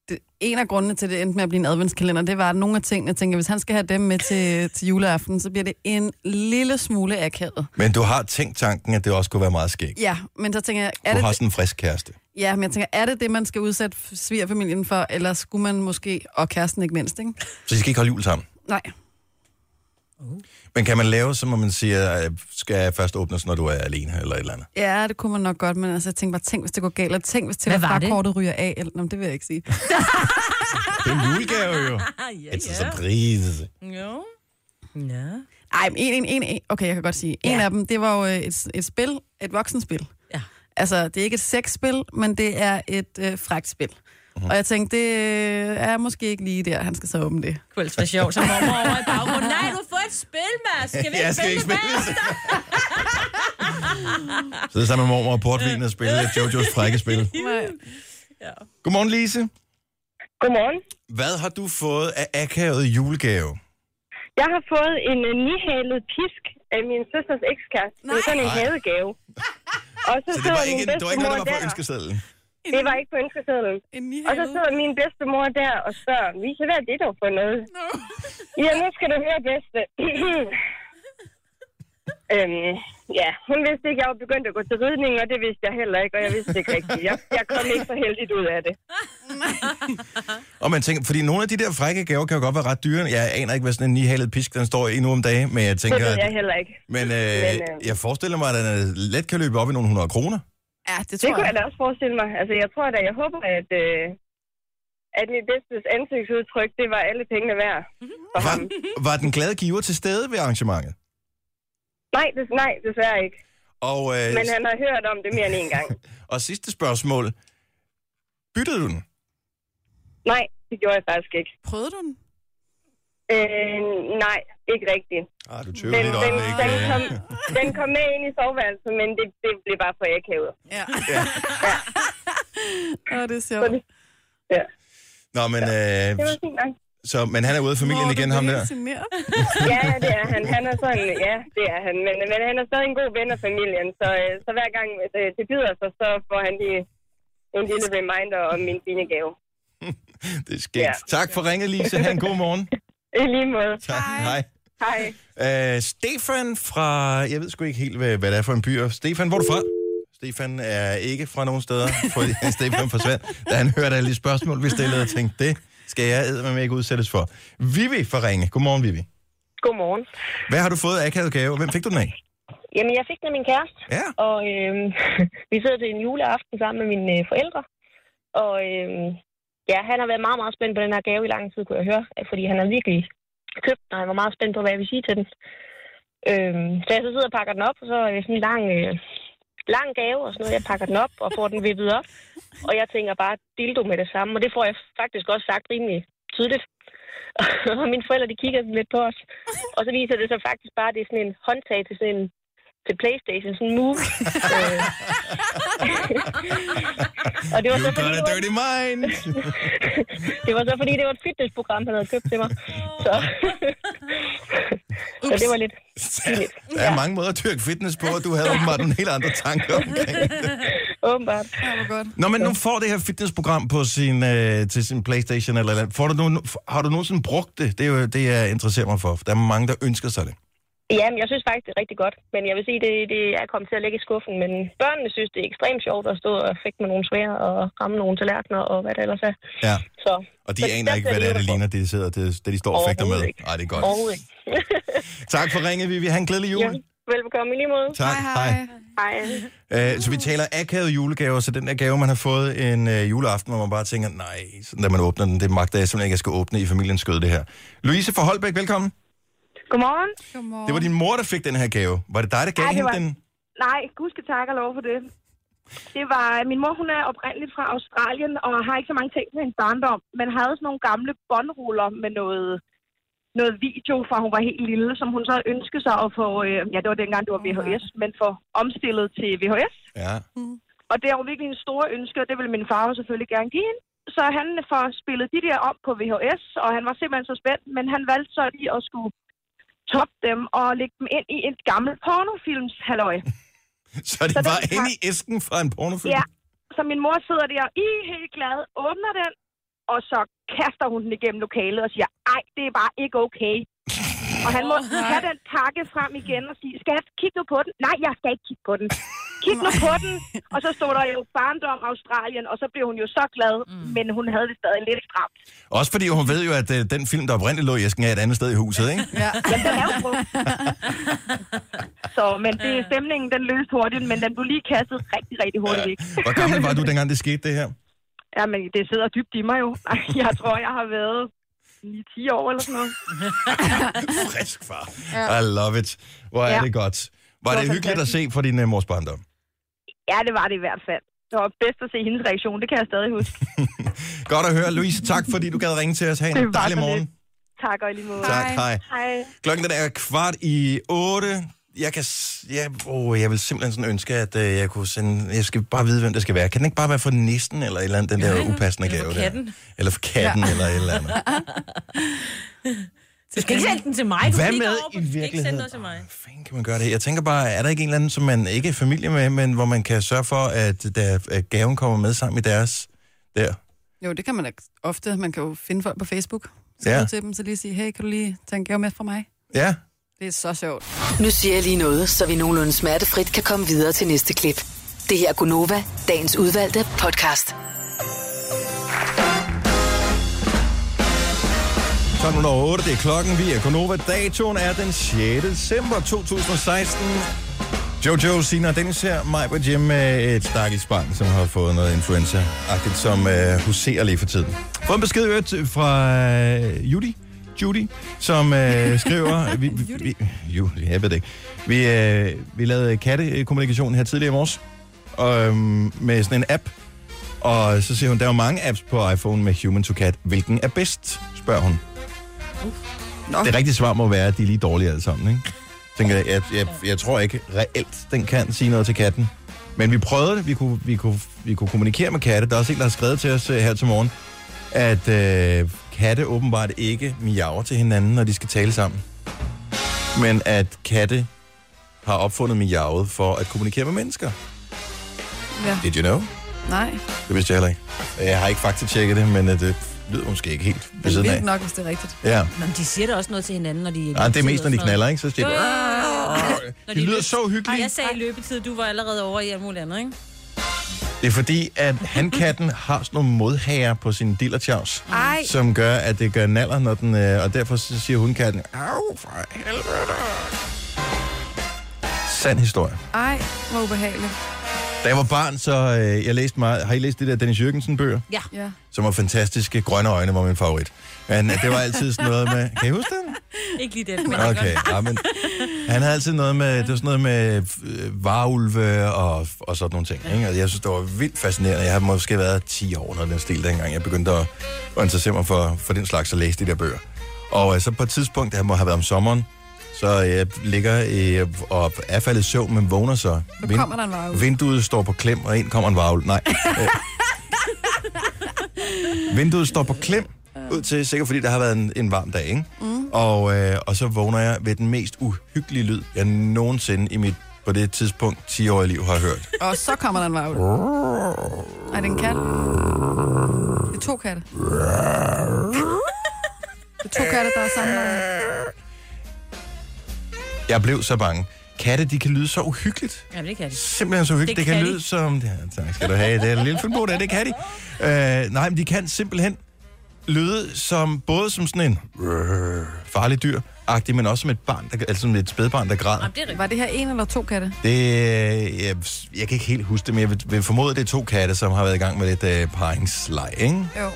S1: det, en af grundene til, at det endte med at blive en adventskalender, det var, at nogle af tingene, jeg tænker, hvis han skal have dem med til, til juleaften, så bliver det en lille smule akavet.
S2: Men du har tænkt tanken, at det også kunne være meget skægt.
S1: Ja, men så tænker jeg, er
S2: Du
S1: det,
S2: har sådan en frisk kæreste.
S1: ja, men jeg tænker, er det det, man skal udsætte svigerfamilien for, eller skulle man måske, og kæresten ikke mindst, ikke?
S2: Så I skal ikke holde jul sammen.
S1: Nej.
S2: Men kan man lave, som om man siger, øh, skal jeg først åbnes, når du er alene eller et eller andet?
S1: Ja, det kunne man nok godt, men altså, jeg tænkte bare, tænk, hvis det går galt, og tænk, hvis
S8: Hvad
S1: det
S8: var det?
S1: kortet ryger af, eller, nå, men det vil jeg ikke sige.
S2: Det er en julegave jo.
S8: Ah, ja,
S2: It's a surprise.
S8: Jo. Ja.
S1: Ej, men en, en, en, en, okay, jeg kan godt sige. En
S8: Ja.
S1: af dem, det var jo øh, et, et spil, et voksenspil.
S8: Ja.
S1: Altså, det er ikke et sexspil, men det er et øh, frækt spil.
S2: Mhm.
S1: Mm-hmm. Og jeg tænkte, det øh, er måske ikke lige der, han skal så åbne det.
S8: Kunne ellers være sjovt, som mormor over i baggrunden. Nej, du får et spil, Mads. Skal vi ikke
S2: Jeg
S8: spille
S2: skal ikke
S8: det
S2: spille
S8: bagefter?
S2: Så det er sammen med mormor og portvin og spille Jojo's frække spil. Godmorgen, Lise.
S9: Godmorgen.
S2: Hvad har du fået af akavet julegave?
S9: Jeg har fået en øh, nihalet pisk af min søsters ekskæreste. Det er sådan en
S2: Nej.
S9: hadegave. Og
S2: Så
S9: så,
S2: det
S9: sidder
S2: var ikke,
S9: min
S2: det var ikke noget,
S9: bedstemor
S2: der var på
S9: der.
S2: ønskesedlen.
S9: Det var ikke på ønskesedlen.
S1: En
S9: Og så
S1: nihalet.
S9: sidder min bedstemor der og spørger, Lise, hvad er det dog for noget?
S1: No.
S9: Ja, nu skal du høre bedste. øhm, ja, hun vidste ikke, jeg var begyndt at gå til ridning, og det vidste jeg heller ikke, og jeg vidste ikke rigtigt. Jeg, jeg kom ikke så heldigt ud af det.
S2: Og man tænker, fordi nogle af de der frække gaver kan jo godt være ret dyre. Jeg aner ikke, hvad sådan en nihalet pisk, den står i nu om dagen, men jeg
S9: Det
S2: tænker...
S9: ved jeg
S2: at-
S9: heller ikke.
S2: Men,
S9: Men,
S2: øh,
S9: øh,
S2: jeg forestiller mig, at den øh, let kan løbe op i nogle hundrede kroner.
S1: Ja, det
S9: Det
S1: tror
S9: kunne jeg
S1: jeg.
S9: da også forestille mig. Altså, jeg tror da, jeg håber, at, øh, at mit bedstes ansigtsudtryk, det var alle pengene værd
S1: Mhm.
S9: for ham.
S2: Var, var den glade giver til stede ved arrangementet?
S9: Nej, des, nej, desværre ikke.
S2: Og, øh,
S9: Men han har hørt om det mere end en gang.
S2: og sidste spørgsmål. Byttede du den?
S9: Nej, det gjorde jeg faktisk ikke.
S1: Prøvede du den?
S9: Øh, nej, ikke rigtigt.
S2: Ah, du tøver
S9: Den,
S2: lidt
S9: den,
S2: øjeblik.
S9: den,
S2: øh.
S9: kom, den kom med ind i soveværelset, men det, det blev bare for akavet.
S1: Ja. Åh, det er
S9: Så
S1: sjovt.
S9: det, ja.
S2: Nå, men øh,
S9: det var fint nok.
S2: Så, men han er ude af familien
S11: Nå, du
S2: igen, ham
S11: blev
S2: der.
S11: helt ja, det er han. Han er sådan, ja, det er han. Men, men han er stadig en god ven af familien, så, øh, så hver gang øh, det bider sig, så får han lige en lille reminder om min fine gave.
S2: Det er skægt. Tak for ringet, Lise. Ha' en god morgen.
S11: I lige måde.
S2: Tak. Hej.
S11: Hej.
S2: Uh, Stefan fra... Jeg ved sgu ikke helt, hvad, hvad det er for en by. Og Stefan, hvor er du fra? Stefan er ikke fra nogen steder, for Stefan forsvandt, da han hørte alle de spørgsmål, vi stillede, og tænkte, det skal jeg med ikke udsættes for. Vivi fra Ringe. Godmorgen, Vivi.
S11: Godmorgen.
S2: Hvad har du fået af akavet gave? Hvem fik du den af?
S11: Jamen, jeg fik den af min kæreste.
S2: Ja.
S11: Og øhm, vi sidder til en juleaften sammen med mine øh, forældre. Og øhm, ja, han har været meget, meget spændt på den her gave i lang tid, kunne jeg høre. Fordi han har virkelig købt den, og han var meget spændt på, hvad jeg vil sige til den. Øhm, så jeg så sidder og pakker den op, og så er det sådan en lang, øh, lang gave og sådan noget. Jeg pakker den op og får den vippet op. Og jeg tænker bare dildo med det samme, og det får jeg faktisk også sagt rimelig tydeligt. og mine forældre, de kigger lidt på os. Og så viser det sig faktisk bare, at det er sådan en håndtag til sådan en til Playstation, sådan en move. Øh. og det var
S2: You
S11: så fordi,
S2: got
S11: det
S2: a
S11: var,
S2: dirty mind.
S11: det var så fordi, det var et fitnessprogram, han havde købt til mig. Så, så det var lidt pinligt.
S2: Der er mange måder at dyrke fitness på, og du havde åbenbart en helt andre tanker omkring det.
S11: Åbenbart.
S1: Ja, hvor godt.
S2: Når man nu får det her fitnessprogram på sin, øh, til sin Playstation eller et eller andet, får du nogen, har du nogensinde brugt det? Det er jo det, jeg interesserer mig for. for Der er mange, der ønsker sig det.
S11: Jamen, jeg synes faktisk, det er rigtig godt. Men jeg vil sige, det, det er kommet til at ligge i skuffen. Men børnene synes, det er ekstremt sjovt at stå og fægte med nogle svære og ramme nogle tallerkener og hvad det ellers er.
S2: Ja.
S11: Så,
S2: Og
S11: så
S2: de aner
S11: der
S2: ikke,
S11: bliver
S2: hvad det er, det
S11: lidt
S2: ligner, det de, sidder, det, det de står og fægter med.
S11: Overhovedet ikke.
S2: Nej, det er
S11: at-
S2: godt.
S11: Overhovedet ikke.
S2: Tak for ringet, Vivi. Han en glædelig jul.
S11: Ja, velbekomme i lige måde.
S2: Tak. Hej, hej.
S11: Hej.
S2: Øh, så vi taler akavet julegaver, så den der gave, man har fået en øh, juleaften, hvor man bare tænker, nej, sådan, da man åbner den, det magter jeg simpelthen ikke, jeg skal åbne i familiens skød, det her. Louise fra Holbæk, velkommen.
S12: Godmorgen.
S1: Godmorgen.
S2: Det var din mor, der fik den her gave. Var det dig, der gav
S12: Ej, det
S2: hende
S12: var-
S2: den?
S12: Nej, gud skal takke og lov for det. Det var, min mor hun er oprindeligt fra Australien, og har ikke så mange ting til hendes barndom, men havde sådan nogle gamle båndruller med noget, noget video fra hun var helt lille, som hun så ønskede sig at få, øh, ja det var dengang det var VHS, men få omstillet til VHS.
S2: Ja.
S12: Og det er jo virkelig en stor ønske, og det ville min far jo selvfølgelig gerne give hende. Så han får spillet de der op på VHS, og han var simpelthen så spændt, men han valgte så lige at skulle toppe dem og lægge dem ind i et gammelt pornofilms halløj.
S2: Så det
S12: Så den
S2: var
S12: tak.
S2: inde i æsken fra en pornofilm?
S12: Ja, så min mor sidder der i helt glad, åbner den, og så kaster hun den igennem lokalet og siger, ej, det er bare ikke okay. Og han må have den pakke frem igen og sige, skal jeg kigge nu på den? Nej, jeg skal ikke kigge på den. Kig nu på den. Og så stod der jo barndom Australien, og så blev hun jo så glad, mm. men hun havde det stadig lidt stramt.
S2: Også fordi hun ved jo, at øh, den film, der oprindeligt lå i æsken, er et andet sted i huset, ikke?
S12: Ja. Jamen, den er jo brugt. Så, men det, stemningen, den løste hurtigt, men den blev lige kastet rigtig, rigtig hurtigt væk.
S2: Hvor gammel var du, dengang det skete, det her?
S12: Jamen, det sidder dybt i mig jo. Ej, Jeg tror, jeg har været i 10 år eller sådan noget.
S2: Frisk far. I love it. Hvor er
S12: Ja.
S2: det godt. Var
S12: Det
S2: det,
S12: var
S2: hyggeligt at
S12: fantastisk.
S2: se for din uh, mors barndom?
S12: Ja, det var det i hvert fald. Det var bedst at se hendes reaktion, det kan jeg stadig huske.
S2: Godt at høre. Louise, tak fordi du gad ringe til os. Ha'
S12: Det
S2: en
S12: var
S2: dejlig
S12: så
S2: morgen.
S12: lidt. Tak og i lige måde.
S2: Tak, hej.
S12: Hej.
S2: Klokken den er kvart i otte. Jeg kan... s- Ja, oh, jeg vil simpelthen sådan ønske, at øh, jeg kunne sende... Jeg skal bare vide, hvem det skal være. Kan den ikke bare være for nissen eller et eller andet, den der upassende gave? Eller for
S8: katten.
S2: Eller for katten,
S8: Ja.
S2: eller et eller andet.
S8: Du skal ikke sende den til mig. Du
S2: Hvad
S8: kigger
S2: med
S8: over på
S2: i
S8: den. Du skal Ikke sende
S2: virkeligheden?
S8: noget til mig.
S2: Hvordan kan man gøre det? Jeg tænker bare, er der ikke en eller anden, som man ikke er familie med, men hvor man kan sørge for, at, der, at gaven kommer med sammen i deres der?
S1: Jo, det kan man da ofte. Man kan jo finde folk på Facebook. Så
S2: Ja.
S1: ja. til dem, så lige sige, hey, kan du lige tage en gave med fra mig?
S2: Ja.
S1: Det er så sjovt.
S7: Nu siger jeg lige noget, så vi nogenlunde smertefrit kan komme videre til næste klip. Det her er Gunova, dagens udvalgte
S2: 12.08,
S7: podcast.
S2: det er klokken. Vi er Konova. Datoen er den 6. december 2016. Jojo, Sina og Dennis her. Mig på Jim med et stakkels barn, som har fået noget influenza-agtigt, som øh, huserer lige for tiden. Fået en besked i øvrigt fra øh, Judy, Judy, som øh, skriver... vi, vi, vi, Judy, jeg ved det ikke. Vi, øh, vi lavede kattekommunikation her tidligere i morges og, øh, med sådan en app, og så siger hun, der er jo mange apps på iPhone med Human to Cat. Hvilken er bedst, spørger hun. Nå. Det rigtige svar må være, at de er lige dårlige alle sammen, ikke? Tænker, jeg, jeg, jeg, jeg tror ikke reelt, den kan sige noget til katten. Men vi prøvede det, vi kunne, vi kunne, vi kunne kommunikere med katte. Der er også en, der har skrevet til os øh, her til morgen. at øh, katte åbenbart ikke miaver til hinanden, når de skal tale sammen. Men at katte har opfundet miavet for at kommunikere med mennesker.
S1: Ja.
S2: Did you know?
S1: Nej.
S2: Det vidste jeg heller ikke. Jeg har ikke faktatjekket det, men øh, det lyder måske ikke helt ved
S1: Men
S2: siden
S1: vildt
S2: af.
S1: nok, hvis det er rigtigt.
S2: Ja.
S8: Nå, men de siger da også noget til hinanden, når de...
S2: Nej, det er mest, når de knaller, ikke? Så siger de,
S8: Jo, jo, jo, jo, jo. Når
S2: Det lyder så hyggeligt.
S8: Ej, jeg sagde løbetid, du var allerede over i alt muligt andet, ikke?
S2: Det er fordi, at hankatten har sådan nogle modhager på sin dillertjavs,
S8: Ej.
S2: som gør, at det gør naller, når den, øh, og derfor så siger hundkatten, au, for helvede. Sand historie.
S1: Ej, hvor ubehageligt.
S2: Da jeg var barn, så øh, jeg læste meget, har I læst det der Dennis Jørgensen bøger?
S8: Ja.
S1: ja.
S2: Som var fantastiske. Grønne øjne var min favorit. Men øh, det var altid sådan noget med, kan I huske den?
S8: Ikke lige den, men
S2: Okay, ja, men han havde altid noget med, det var sådan noget med øh, varulve og, og sådan nogle ting. Ikke? Og jeg synes, det var vildt fascinerende. Jeg har måske været 10 år, når den stil dengang. Jeg begyndte at, at interessere mig for, for den slags og læse de der bøger. Og øh, så på et tidspunkt, det må have været om sommeren, så jeg ligger øh, og er faldet i søvn, men vågner så.
S1: Nu
S2: Vind-
S1: kommer der en varulv.
S2: Vinduet står på klem, og ind kommer en varvel. Nej. Øh. Vinduet står på klem, ud til sikkert fordi der har været en, en varm dag, ikke? Mm. Og, øh, og så vågner jeg ved den mest uhyggelige lyd, jeg nogensinde i mit, på det tidspunkt, 10-årige liv har hørt.
S1: Og så kommer der en varvel. Ej, det er en kat. Det er to katte. Det er to katte, der er samlet.
S2: Jeg blev så bange. Katte, de kan lyde så uhyggeligt.
S8: Ja, det kan de.
S2: Simpelthen så hyggeligt. Det, det kan, lyde som... Ja, tak skal du have. Det er en lille film på det. Det kan de. Øh, nej, men de kan simpelthen lyde som både som sådan en øh, farlig dyr agtig men også som et barn, der, altså som et spædbarn, der græder.
S1: Det Var det her en eller to katte?
S2: Det, øh, jeg, jeg kan ikke helt huske det, men jeg vil, vil formode, at det er to katte, som har været i gang med lidt øh, paringsleg, ikke?
S1: Jo.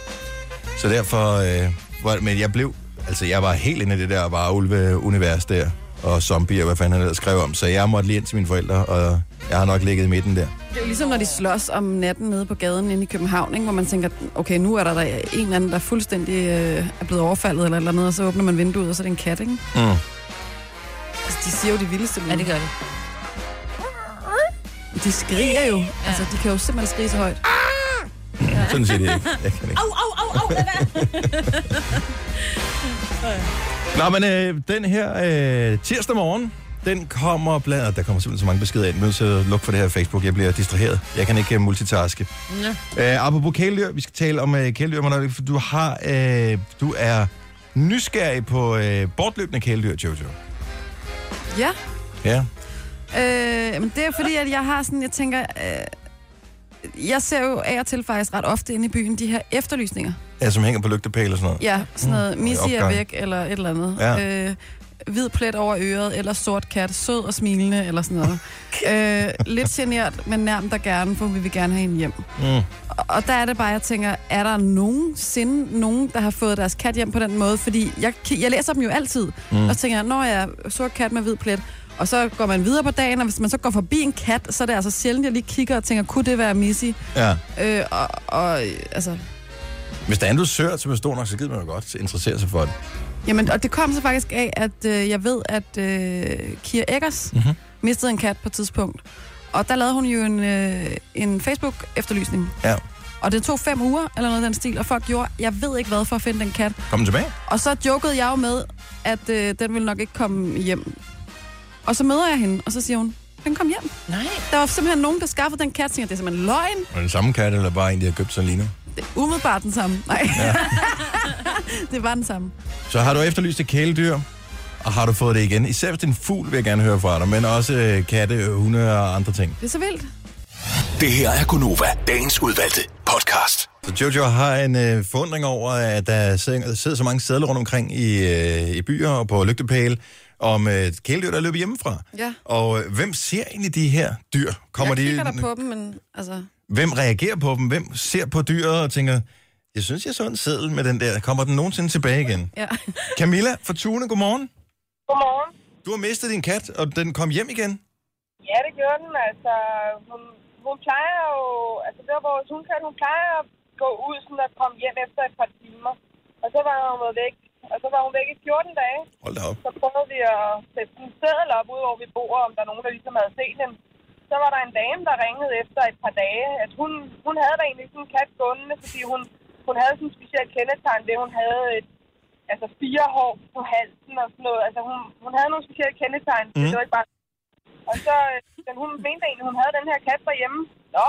S2: Så derfor... Øh, var, men jeg blev... Altså, jeg var helt inde i det der varulve-univers der, og zombier, og hvad fanden han ellers skrev om. Så jeg måtte lige ind til mine forældre, og jeg har nok ligget i midten der.
S1: Det er jo ligesom, når de slås om natten nede på gaden inde i København, ikke? hvor man tænker, okay, nu er der, der en eller anden, der fuldstændig øh, er blevet overfaldet eller et eller andet, og så åbner man vinduet, og så er det en kat, ikke?
S2: Mm.
S1: Altså, de siger jo de vildeste lyde.
S8: Ja, det gør de.
S1: De skriger jo. Altså, de kan jo simpelthen skrige så højt.
S2: Sådan siger de ikke. Jeg kan ikke.
S8: Au, au, au, au, lad være.
S2: Nå, men øh, den her øh, tirsdag morgen, den kommer blandt... og Der kommer simpelthen så mange beskeder ind. Nu så luk for det her Facebook. Jeg bliver distraheret. Jeg kan ikke øh, multitaske.
S8: Ja.
S2: Øh, apropos kæledyr, vi skal tale om øh, kæledyr, Manon, for du, har, øh, du er nysgerrig på øh, bortløbende kæledyr, Jojo.
S1: Ja.
S2: Ja.
S1: Øh, men det er fordi, at jeg har sådan, jeg tænker, øh, jeg ser jo af og til faktisk ret ofte inde i byen de her efterlysninger.
S2: ja, som hænger på lygtepæle og sådan noget.
S1: Ja, sådan noget,
S2: Mm,
S1: mm, Missy er
S2: opgang.
S1: væk, eller et eller andet.
S2: Ja.
S1: Øh, hvid plet over øret, eller sort kat, sød og smilende, eller sådan noget. øh, lidt genert, men nærmt der gerne, for vi vil gerne have hende hjem.
S2: Mm.
S1: Og- Og der er det bare, jeg tænker, er der nogensinde nogen, der har fået deres kat hjem på den måde? Fordi jeg, ki- jeg læser dem jo altid,
S13: Mm.
S1: mm. og så tænker jeg, når jeg er sort kat med hvid plet, og så går man videre på dagen, og hvis man så går forbi en kat, så er det altså sjældent, jeg lige kigger og tænker, kunne det være Missy?
S2: Ja.
S1: Øh, og, og, øh, altså,
S2: Hvis der er en dusør, som er stor nok, så gider man jo godt interessere sig for det.
S1: Jamen, og det kom så faktisk af, at øh, jeg ved, at øh, Kira Eggers
S2: Mhm.
S1: mm-hmm. mistede en kat på et tidspunkt. Og der lavede hun jo en, øh, en Facebook-efterlysning.
S2: Ja.
S1: Og det tog fem uger, eller noget af den stil, og folk gjorde, jeg ved ikke hvad, for at finde den kat.
S2: Kom den tilbage.
S1: Og så jokede jeg jo med, at øh, den ville nok ikke komme hjem. Og så møder jeg hende, og så siger hun, den kom hjem.
S8: Nej.
S1: Der var simpelthen nogen, der skaffede den kat, tænker, det er simpelthen løgn.
S2: Og den samme kat, eller bare en, de har købt sådan lige nu.
S1: Det er umiddelbart den samme. Nej. Ja. det var den samme.
S2: Så har du efterlyst et kæledyr, og har du fået det igen? Især hvis det er en fugl, vil jeg gerne høre fra dig, men også øh, katte, øh, hunde og andre ting.
S1: Det er så vildt.
S4: Det her er Gunova, dagens udvalgte podcast.
S2: Så Jojo har en øh, forundring over, at der sidder, sidder så mange sædler rundt omkring i, øh, i byer og på lygtepæle om øh, kæledyr, der løber hjemmefra.
S1: Ja.
S2: Og øh, hvem ser egentlig de her dyr? Kommer
S1: jeg
S2: de,
S1: kigger der på dem, men altså...
S2: hvem reagerer på dem? Hvem ser på dyret og tænker, jeg synes, jeg så en sædel med den der. Kommer den nogensinde tilbage igen?
S1: Ja.
S2: Camilla fra Tune, godmorgen.
S10: Godmorgen.
S2: Du har mistet din kat, og den kom hjem igen.
S10: Ja, det gjorde den. Altså, hun, hun plejer jo... Altså, der hvor hun kan, hun plejer at gå ud sådan og komme hjem efter et par timer. Og så var hun været væk. Og så var hun væk i 14 dage.
S2: Hold da op.
S10: Så prøvede vi at sætte sådan en seddel op, ud hvor vi bor, om der er nogen, der ligesom havde set hende. Så var der en dame, der ringede efter et par dage, at hun, hun havde da egentlig sådan en kat gående, fordi hun hun havde sådan en speciel kendetegn, det hun havde et, altså fire hår på halsen og sådan noget. Altså hun, hun havde nogle specielle kendetegn, mm.
S13: Mhm.
S10: det var ikke bare... Og så, øh, men hun mente egentlig, hun havde den her kat derhjemme. Nå,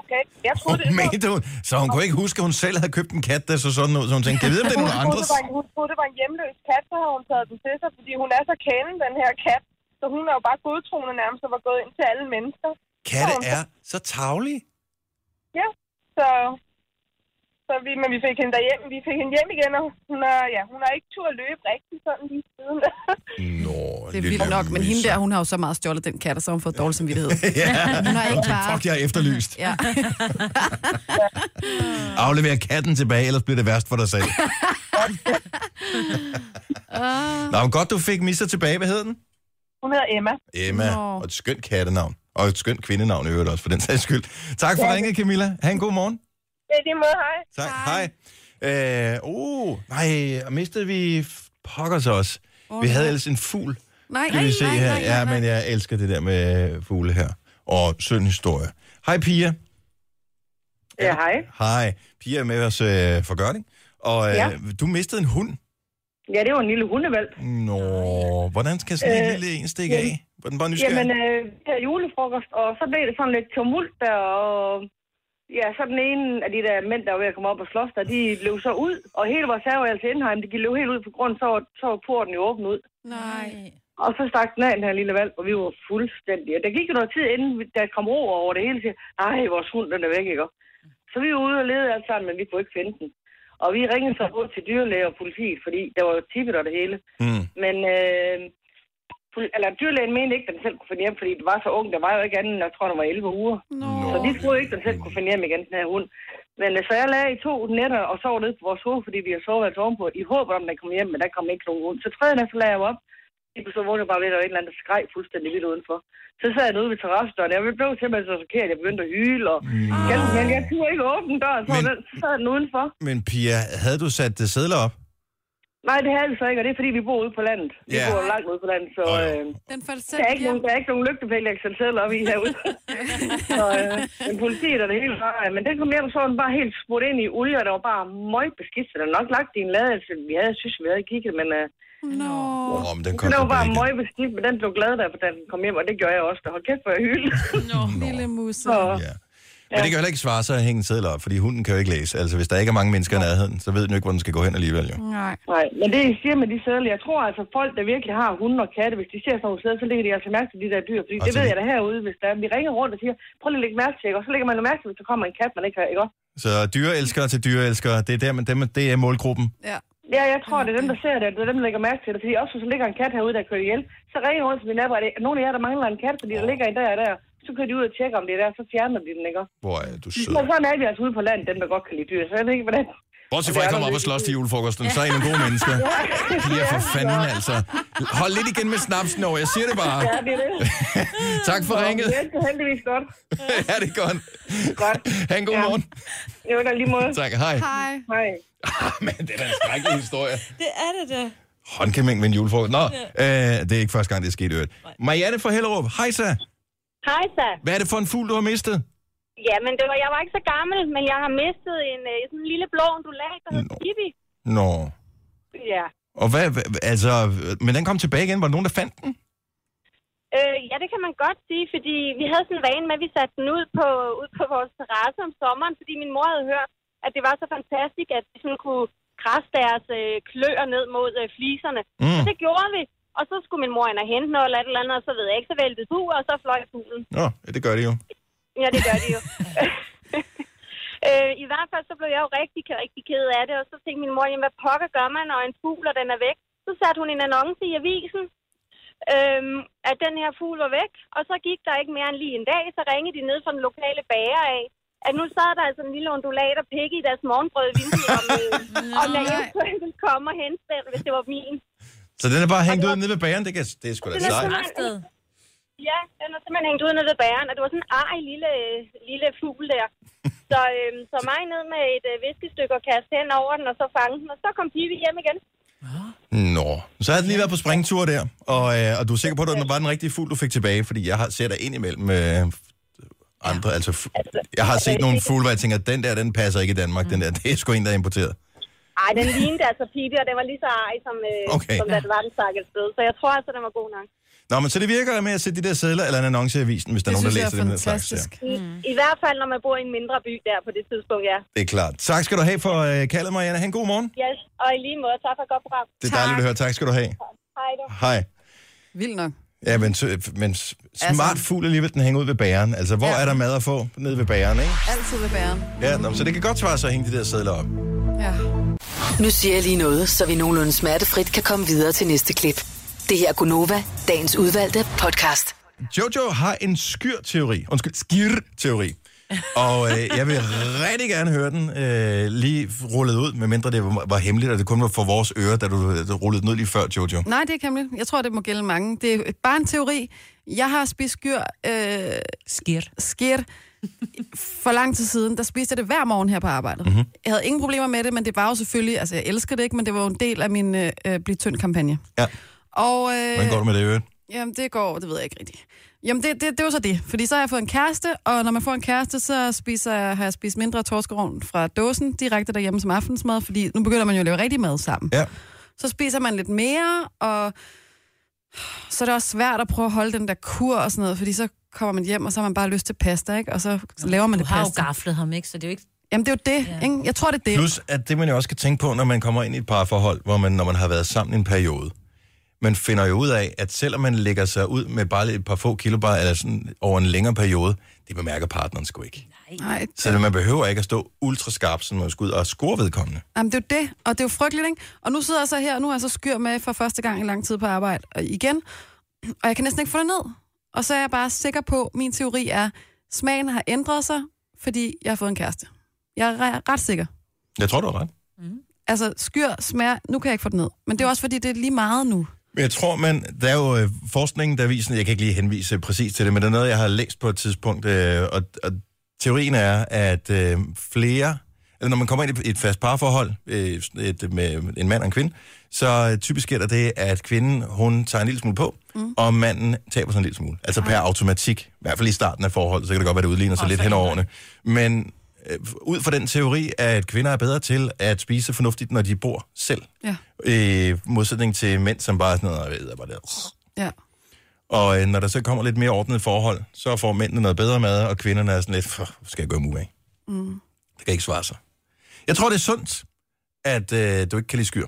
S10: okay. Jeg troede, det,
S2: Hun mente hun, så hun kunne ikke huske, at hun selv havde købt en kat, der så sådan ud, så hun tænkte, jeg ved, om det er nogen
S10: Hun troede,
S2: andres.
S10: det var en, hun troede, det var en hjemløs kat, så havde hun taget den til sig, fordi hun er så kendt, den her kat. Så hun er jo bare godtroende nærmest, og var gået ind til alle mennesker.
S2: Katte er så tavlige.
S10: Ja, så, så vi, men vi fik hende derhjem. Vi fik hende hjem igen, og hun er, ja, hun har ikke tur at løbe rigtigt sådan lige siden.
S1: Det er vildt nok, men hende der, hun har jo så meget stjålet den kat, og så har hun fået dårlig samvittighed.
S2: ja,
S1: Hun har ikke bare...
S2: fuck, jeg er efterlyst.
S1: Ja.
S2: Aflever katten tilbage, ellers bliver det værst for dig selv. Nå, men godt, du fik Missa tilbage. Hvad hed den?
S10: hun hedder Emma.
S2: Emma.
S10: Nå.
S2: Og et skønt kattenavn. Og et skønt kvindenavn i øvrigt også, for den sags skyld. Tak for
S10: Ja.
S2: ringet, Camilla. Ha' en god morgen.
S10: Det er det måde, hej.
S2: Tak. Hej. Øh, uh, nej, og mistede vi pokkers også.
S1: Åh,
S2: vi havde
S1: nej.
S2: ellers en fugl.
S1: Nej,
S2: Skal vi se
S1: nej,
S2: her.
S1: nej, nej,
S2: Ja,
S1: nej.
S2: men jeg elsker det der med fugle her. Og sød en historie. Hej, Pia.
S14: Ja, hej.
S2: Hej. Pia er med os øh, fra Gørning. Og øh,
S14: Ja.
S2: du mistede en hund.
S14: Ja, det var en lille hundevalg.
S2: Nå, hvordan skal sådan en
S14: Øh,
S2: lille en stikke
S14: jamen-
S2: af? Var den bare nysgerrig?
S14: Jamen, øh, vi havde julefrokost, og så blev det sådan lidt tumult der, og ja, så den ene af de der mænd, der var ved at komme op og slås der, de løb så ud, og hele vores servealse Indheim, de løb helt ud på grund, så var, så var porten jo åben ud.
S1: Nej.
S14: Og så stak den af, den her lille valg, og vi var fuldstændig. Og der gik jo noget tid, inden vi- der kom ro over det hele, til, nej, vores hund, den er væk, ikke? Så vi var ude og lede alt sammen, men vi kunne ikke finde den. Og vi ringede så både til dyrlæge og politiet, fordi der var jo tippet og det hele.
S2: Mm.
S14: Men øh, pol- eller, dyrlægen mente ikke, at den selv kunne finde hjem, fordi den var så ung. Der var jo ikke andet, end, jeg tror, den var 11 uger.
S1: Nå.
S14: Så de troede ikke, at den selv kunne finde hjem igen, den her hund. Men øh, så jeg lagde i to nætter og sov nede på vores hoved, fordi vi havde sovet altså ovenpå. I håber om, den kom hjem, men der kom ikke nogen hund. Så tredje nat, så lagde jeg mig op. Så vågnede jeg bare ved, at der var et eller andet, der skreg fuldstændig vildt udenfor. Så sad jeg ude ved terrassedøren. Jeg blev simpelthen så chokeret, at jeg begyndte at hyle. Og... Men jeg turde ikke åbne døren, så, var den, så sad den udenfor.
S2: Men Pia, havde du sat øh, sædler op?
S14: Nej, det havde vi så ikke, og det er fordi, vi bor ude på landet. Vi
S2: Ja.
S14: bor langt ude på landet, så øh,
S1: Den faldt
S14: der, er ikke nogen, der er ikke nogen lygtepæl, jeg kan sætte sædler op i herude. så øh, en politi der det hele var, men den kom hjem, så var den bare helt smurt ind i olie, og der var bare møg beskidt, så den havde nok lagt i en ladelse. Vi havde, jeg synes, vi havde kigget, men øh,
S1: Nå.
S2: Åh, oh, men den
S14: den
S2: kom
S14: var
S2: tilbage
S14: bare
S2: igen.
S14: møg beskidt, men den blev glad, da da den kom hjem, og det gjorde jeg også. Da hold kæft, for jeg hylde.
S1: Nå, lille musse.
S2: Ja. Men det kan jo heller ikke svare sig at hænge en sædler op, fordi hunden kan jo ikke læse. Altså, hvis der ikke er mange mennesker i nærheden, så ved den jo ikke, hvor den skal gå hen alligevel, jo.
S1: Nej.
S14: Nej, men det I siger med de sædler, jeg tror altså, folk, der virkelig har hunde og katte, hvis de ser sådan nogle sædler, så lægger de altså mærke til de der dyr. Fordi
S2: Og
S14: det
S2: til
S14: ved
S2: de-
S14: jeg da herude, hvis der er. Vi ringer rundt og siger, prøv lige at lægge mærke til, ikke? og så lægger man jo mærke til, hvis der kommer en kat, man ikke har, ikke? også?
S2: Så dyreelskere til dyreelskere, det er, der, men dem, det er målgruppen.
S1: Ja.
S14: Ja, jeg tror, det er dem, der ser det, det er dem, der lægger mærke til det. Fordi også hvis der ligger en kat herude, der kører ihjel, så ringer jeg rundt til min nabo, er det nogen af jer, der mangler en kat, fordi der ligger en der og der. Så kører de ud og tjekker, om det er der, så fjerner de den, ikke? også?
S2: Hvor er du
S14: Så
S2: sød.
S14: sådan er vi altså ude på landet, dem, der godt kan lide dyr. Så jeg ved ikke, hvordan...
S2: Bortset fra, at jeg kommer op og slås til julefrokosten, så er I nogle gode mennesker. Bliver for fanden, altså. Hold lidt igen med snapsen over, jeg siger det bare.
S14: Ja, det er det.
S2: Tak for ringet.
S14: Det er heldigvis godt.
S2: Ja, det er godt. Ha' en god morgen.
S14: Jo, der lige måde.
S2: Tak, hej. Ah,
S14: Hej.
S2: Men det er da en skrækkelig historie.
S8: Det er det da.
S2: Håndkæmning med en julefrokost. Nå, øh, det er ikke første gang, det er sket i øvrigt. Marianne fra Hellerup, hej så.
S13: Hej så.
S2: Hvad er det for en fugl, du har mistet?
S13: Ja, men det var, jeg var ikke så gammel, men jeg har mistet en øh, sådan en lille blå ondulat, der hedder Tibi.
S2: Nå.
S13: Ja.
S2: Og hvad, hvad, altså, men den kom tilbage igen. Var der nogen, der fandt den?
S13: Øh, ja, det kan man godt sige, fordi vi havde sådan en vane med, at vi satte den ud på, ud på vores terrasse om sommeren, fordi min mor havde hørt, at det var så fantastisk, at de sådan kunne krasse deres øh, kløer ned mod øh, fliserne.
S2: Mm.
S13: Og det gjorde vi. Og så skulle min mor ind og hente noget eller et eller andet, og så ved jeg ikke, så væltede du, og så fløj fuglen.
S2: Nå, ja, det gør det jo.
S13: Ja, det gør de jo. øh, I hvert fald så blev jeg jo rigtig, rigtig ked af det, og så tænkte min mor, jamen hvad pokker gør man, når en fugl, og den er væk? Så satte hun en annonce i avisen, øhm, at den her fugl var væk, og så gik der ikke mere end lige en dag, så ringede de ned fra den lokale bager af, at nu sad der altså en lille ondulat og pikke i deres morgenbrød i vinduet, om, øh, om jeg eventuelt ville komme og hente den, hvis det var min.
S2: Så den er bare hængt ud nede ved bageren. Det, kan, det er sgu da
S13: Den er
S2: sejt.
S13: simpelthen- Ja, den er simpelthen hængt ud nede ved bæren, og det var sådan en arg lille, øh, lille fugl der. Så, øhm, så mig ned med et øh, viskestykke og kaste hen over den, og så fange den, og så kom Pibi hjem igen.
S2: Nå, så havde den lige været på springtur der, og, øh, og du er sikker på, at det var den rigtige fugl, du fik tilbage, fordi jeg har, ser dig ind imellem øh, andre. Altså, fu- jeg har set nogle fugle, hvor jeg tænker, den der, den passer ikke i Danmark, den der. Det er sgu en, der er importeret.
S13: Ej, den lignede altså Pippi, og den var lige så ej, som,
S2: Okay.
S13: øh, okay. som da den var den stakket sted. Så jeg tror altså, den var god nok.
S2: Nå, men så det virker med at sætte de der sædler eller en annonce i avisen, hvis der er
S13: Det
S2: nogen, der
S13: synes jeg
S2: læser
S13: er
S2: dem. den slags der.
S13: I, I hvert fald, når man bor i en mindre by der på det tidspunkt, ja.
S2: Det er klart. Tak skal du have for øh, kaldet, Marianne. Ha' en god morgen.
S13: Yes, og i lige måde, tak for et godt program.
S2: Det er dejligt at høre. Tak skal du have.
S13: Hej du.
S2: Hej.
S1: Vildt nok.
S2: Ja, men, så- men s-
S13: Altså-
S2: smart fugl alligevel, den hænger ud ved bæren. Altså, hvor ja. er der mad at få? Nede ved bæren, ikke?
S1: Altid ved bæren.
S2: Ja, nå, så det kan godt svare sig at hænge de der sædler op.
S1: Ja.
S7: Nu siger jeg lige noget, så vi nogenlunde smertefrit kan komme videre til næste klip. Det her er Gunova, dagens udvalgte podcast.
S2: Jojo har en skyr-teori. Undskyld, skir-teori. Og øh, jeg vil rigtig gerne høre den øh, lige rullet ud, medmindre det var, var hemmeligt, og det kun var for vores ører, da du, øh, du rullede den ud lige før, Jojo.
S1: Nej, det er ikke hemmeligt. Jeg tror, det må gælde mange. Det er bare en teori. Jeg har spist skyr... Øh,
S8: skir.
S1: Skir. For lang tid siden, der spiste jeg det hver morgen her på arbejdet.
S7: Mhm.
S1: Mm-hmm. Jeg havde ingen problemer med det, men det var jo selvfølgelig... Altså, jeg elsker det ikke, men det var jo en del af min øh, øh, Bliv Tynd-kampagne.
S2: Ja.
S1: Og, øh,
S2: Hvordan går du med det, øret?
S1: Jamen, det går, det ved jeg ikke rigtigt. Jamen, det, det, det var så det. Fordi så har jeg fået en kæreste, og når man får en kæreste, så spiser, jeg- har jeg spist mindre torskerovn fra dåsen direkte derhjemme som aftensmad, fordi nu begynder man jo at lave rigtig mad sammen.
S2: Ja.
S1: Så spiser man lidt mere, og så er det også svært at prøve at holde den der kur og sådan noget, fordi så kommer man hjem, og så har man bare lyst til pasta, ikke? Og så laver man
S8: du
S1: det
S8: har jo
S1: pasta.
S8: gaflet ham, ikke? Så det er jo ikke...
S1: Jamen, det er jo det, ja. ikke? Jeg tror, det er det.
S2: Plus, at det man jo også kan tænke på, når man kommer ind i et parforhold, hvor man, når man har været sammen i en periode, man finder jo ud af, at selvom man lægger sig ud med bare et par få kilo, bare, eller sådan over en længere periode, det bemærker partneren sgu ikke.
S1: Nej,
S2: Så man behøver ikke at stå ultraskarp, sådan man skal ud og score vedkommende.
S1: Jamen, det er jo det, og det er jo frygteligt, ikke? Og nu sidder jeg så her, nu er jeg så skyr med for første gang i lang tid på arbejde og igen, og jeg kan næsten ikke få det ned. Og så er jeg bare sikker på, min teori er, smagen har ændret sig, fordi jeg har fået en kæreste. Jeg er re- ret sikker.
S2: Jeg tror, du har ret.
S1: Altså, skyr, smager, nu kan jeg ikke få det ned. Men det er også, fordi det er lige meget nu.
S2: Men Jeg tror, man, der er jo øh, forskningen, der viser, jeg kan ikke lige henvise præcis til det, men det er noget, jeg har læst på et tidspunkt, øh, og, og teorien er, at øh, flere, eller når man kommer ind i et fast parforhold øh, et, med en mand og en kvinde, så øh, typisk sker der det, at kvinden, hun tager en lille smule på, mm. og manden taber sig en lille smule. Altså per automatik, i hvert fald i starten af forholdet, så kan det godt være, det udligner sig lidt hen over årene. Men øh, ud fra den teori, at kvinder er bedre til at spise fornuftigt, når de bor selv.
S1: Ja.
S2: I modsætning til mænd, som bare er sådan noget, jeg ved, bare der.
S1: Ja.
S2: Og øh, når der så kommer lidt mere ordnet forhold, så får mændene noget bedre mad, og kvinderne er sådan lidt, "Fuh, hvor skal jeg gå imod af?
S1: Mm.
S2: Det kan ikke svare sig. Jeg tror, det er sundt, at øh, du ikke kan lide skyr.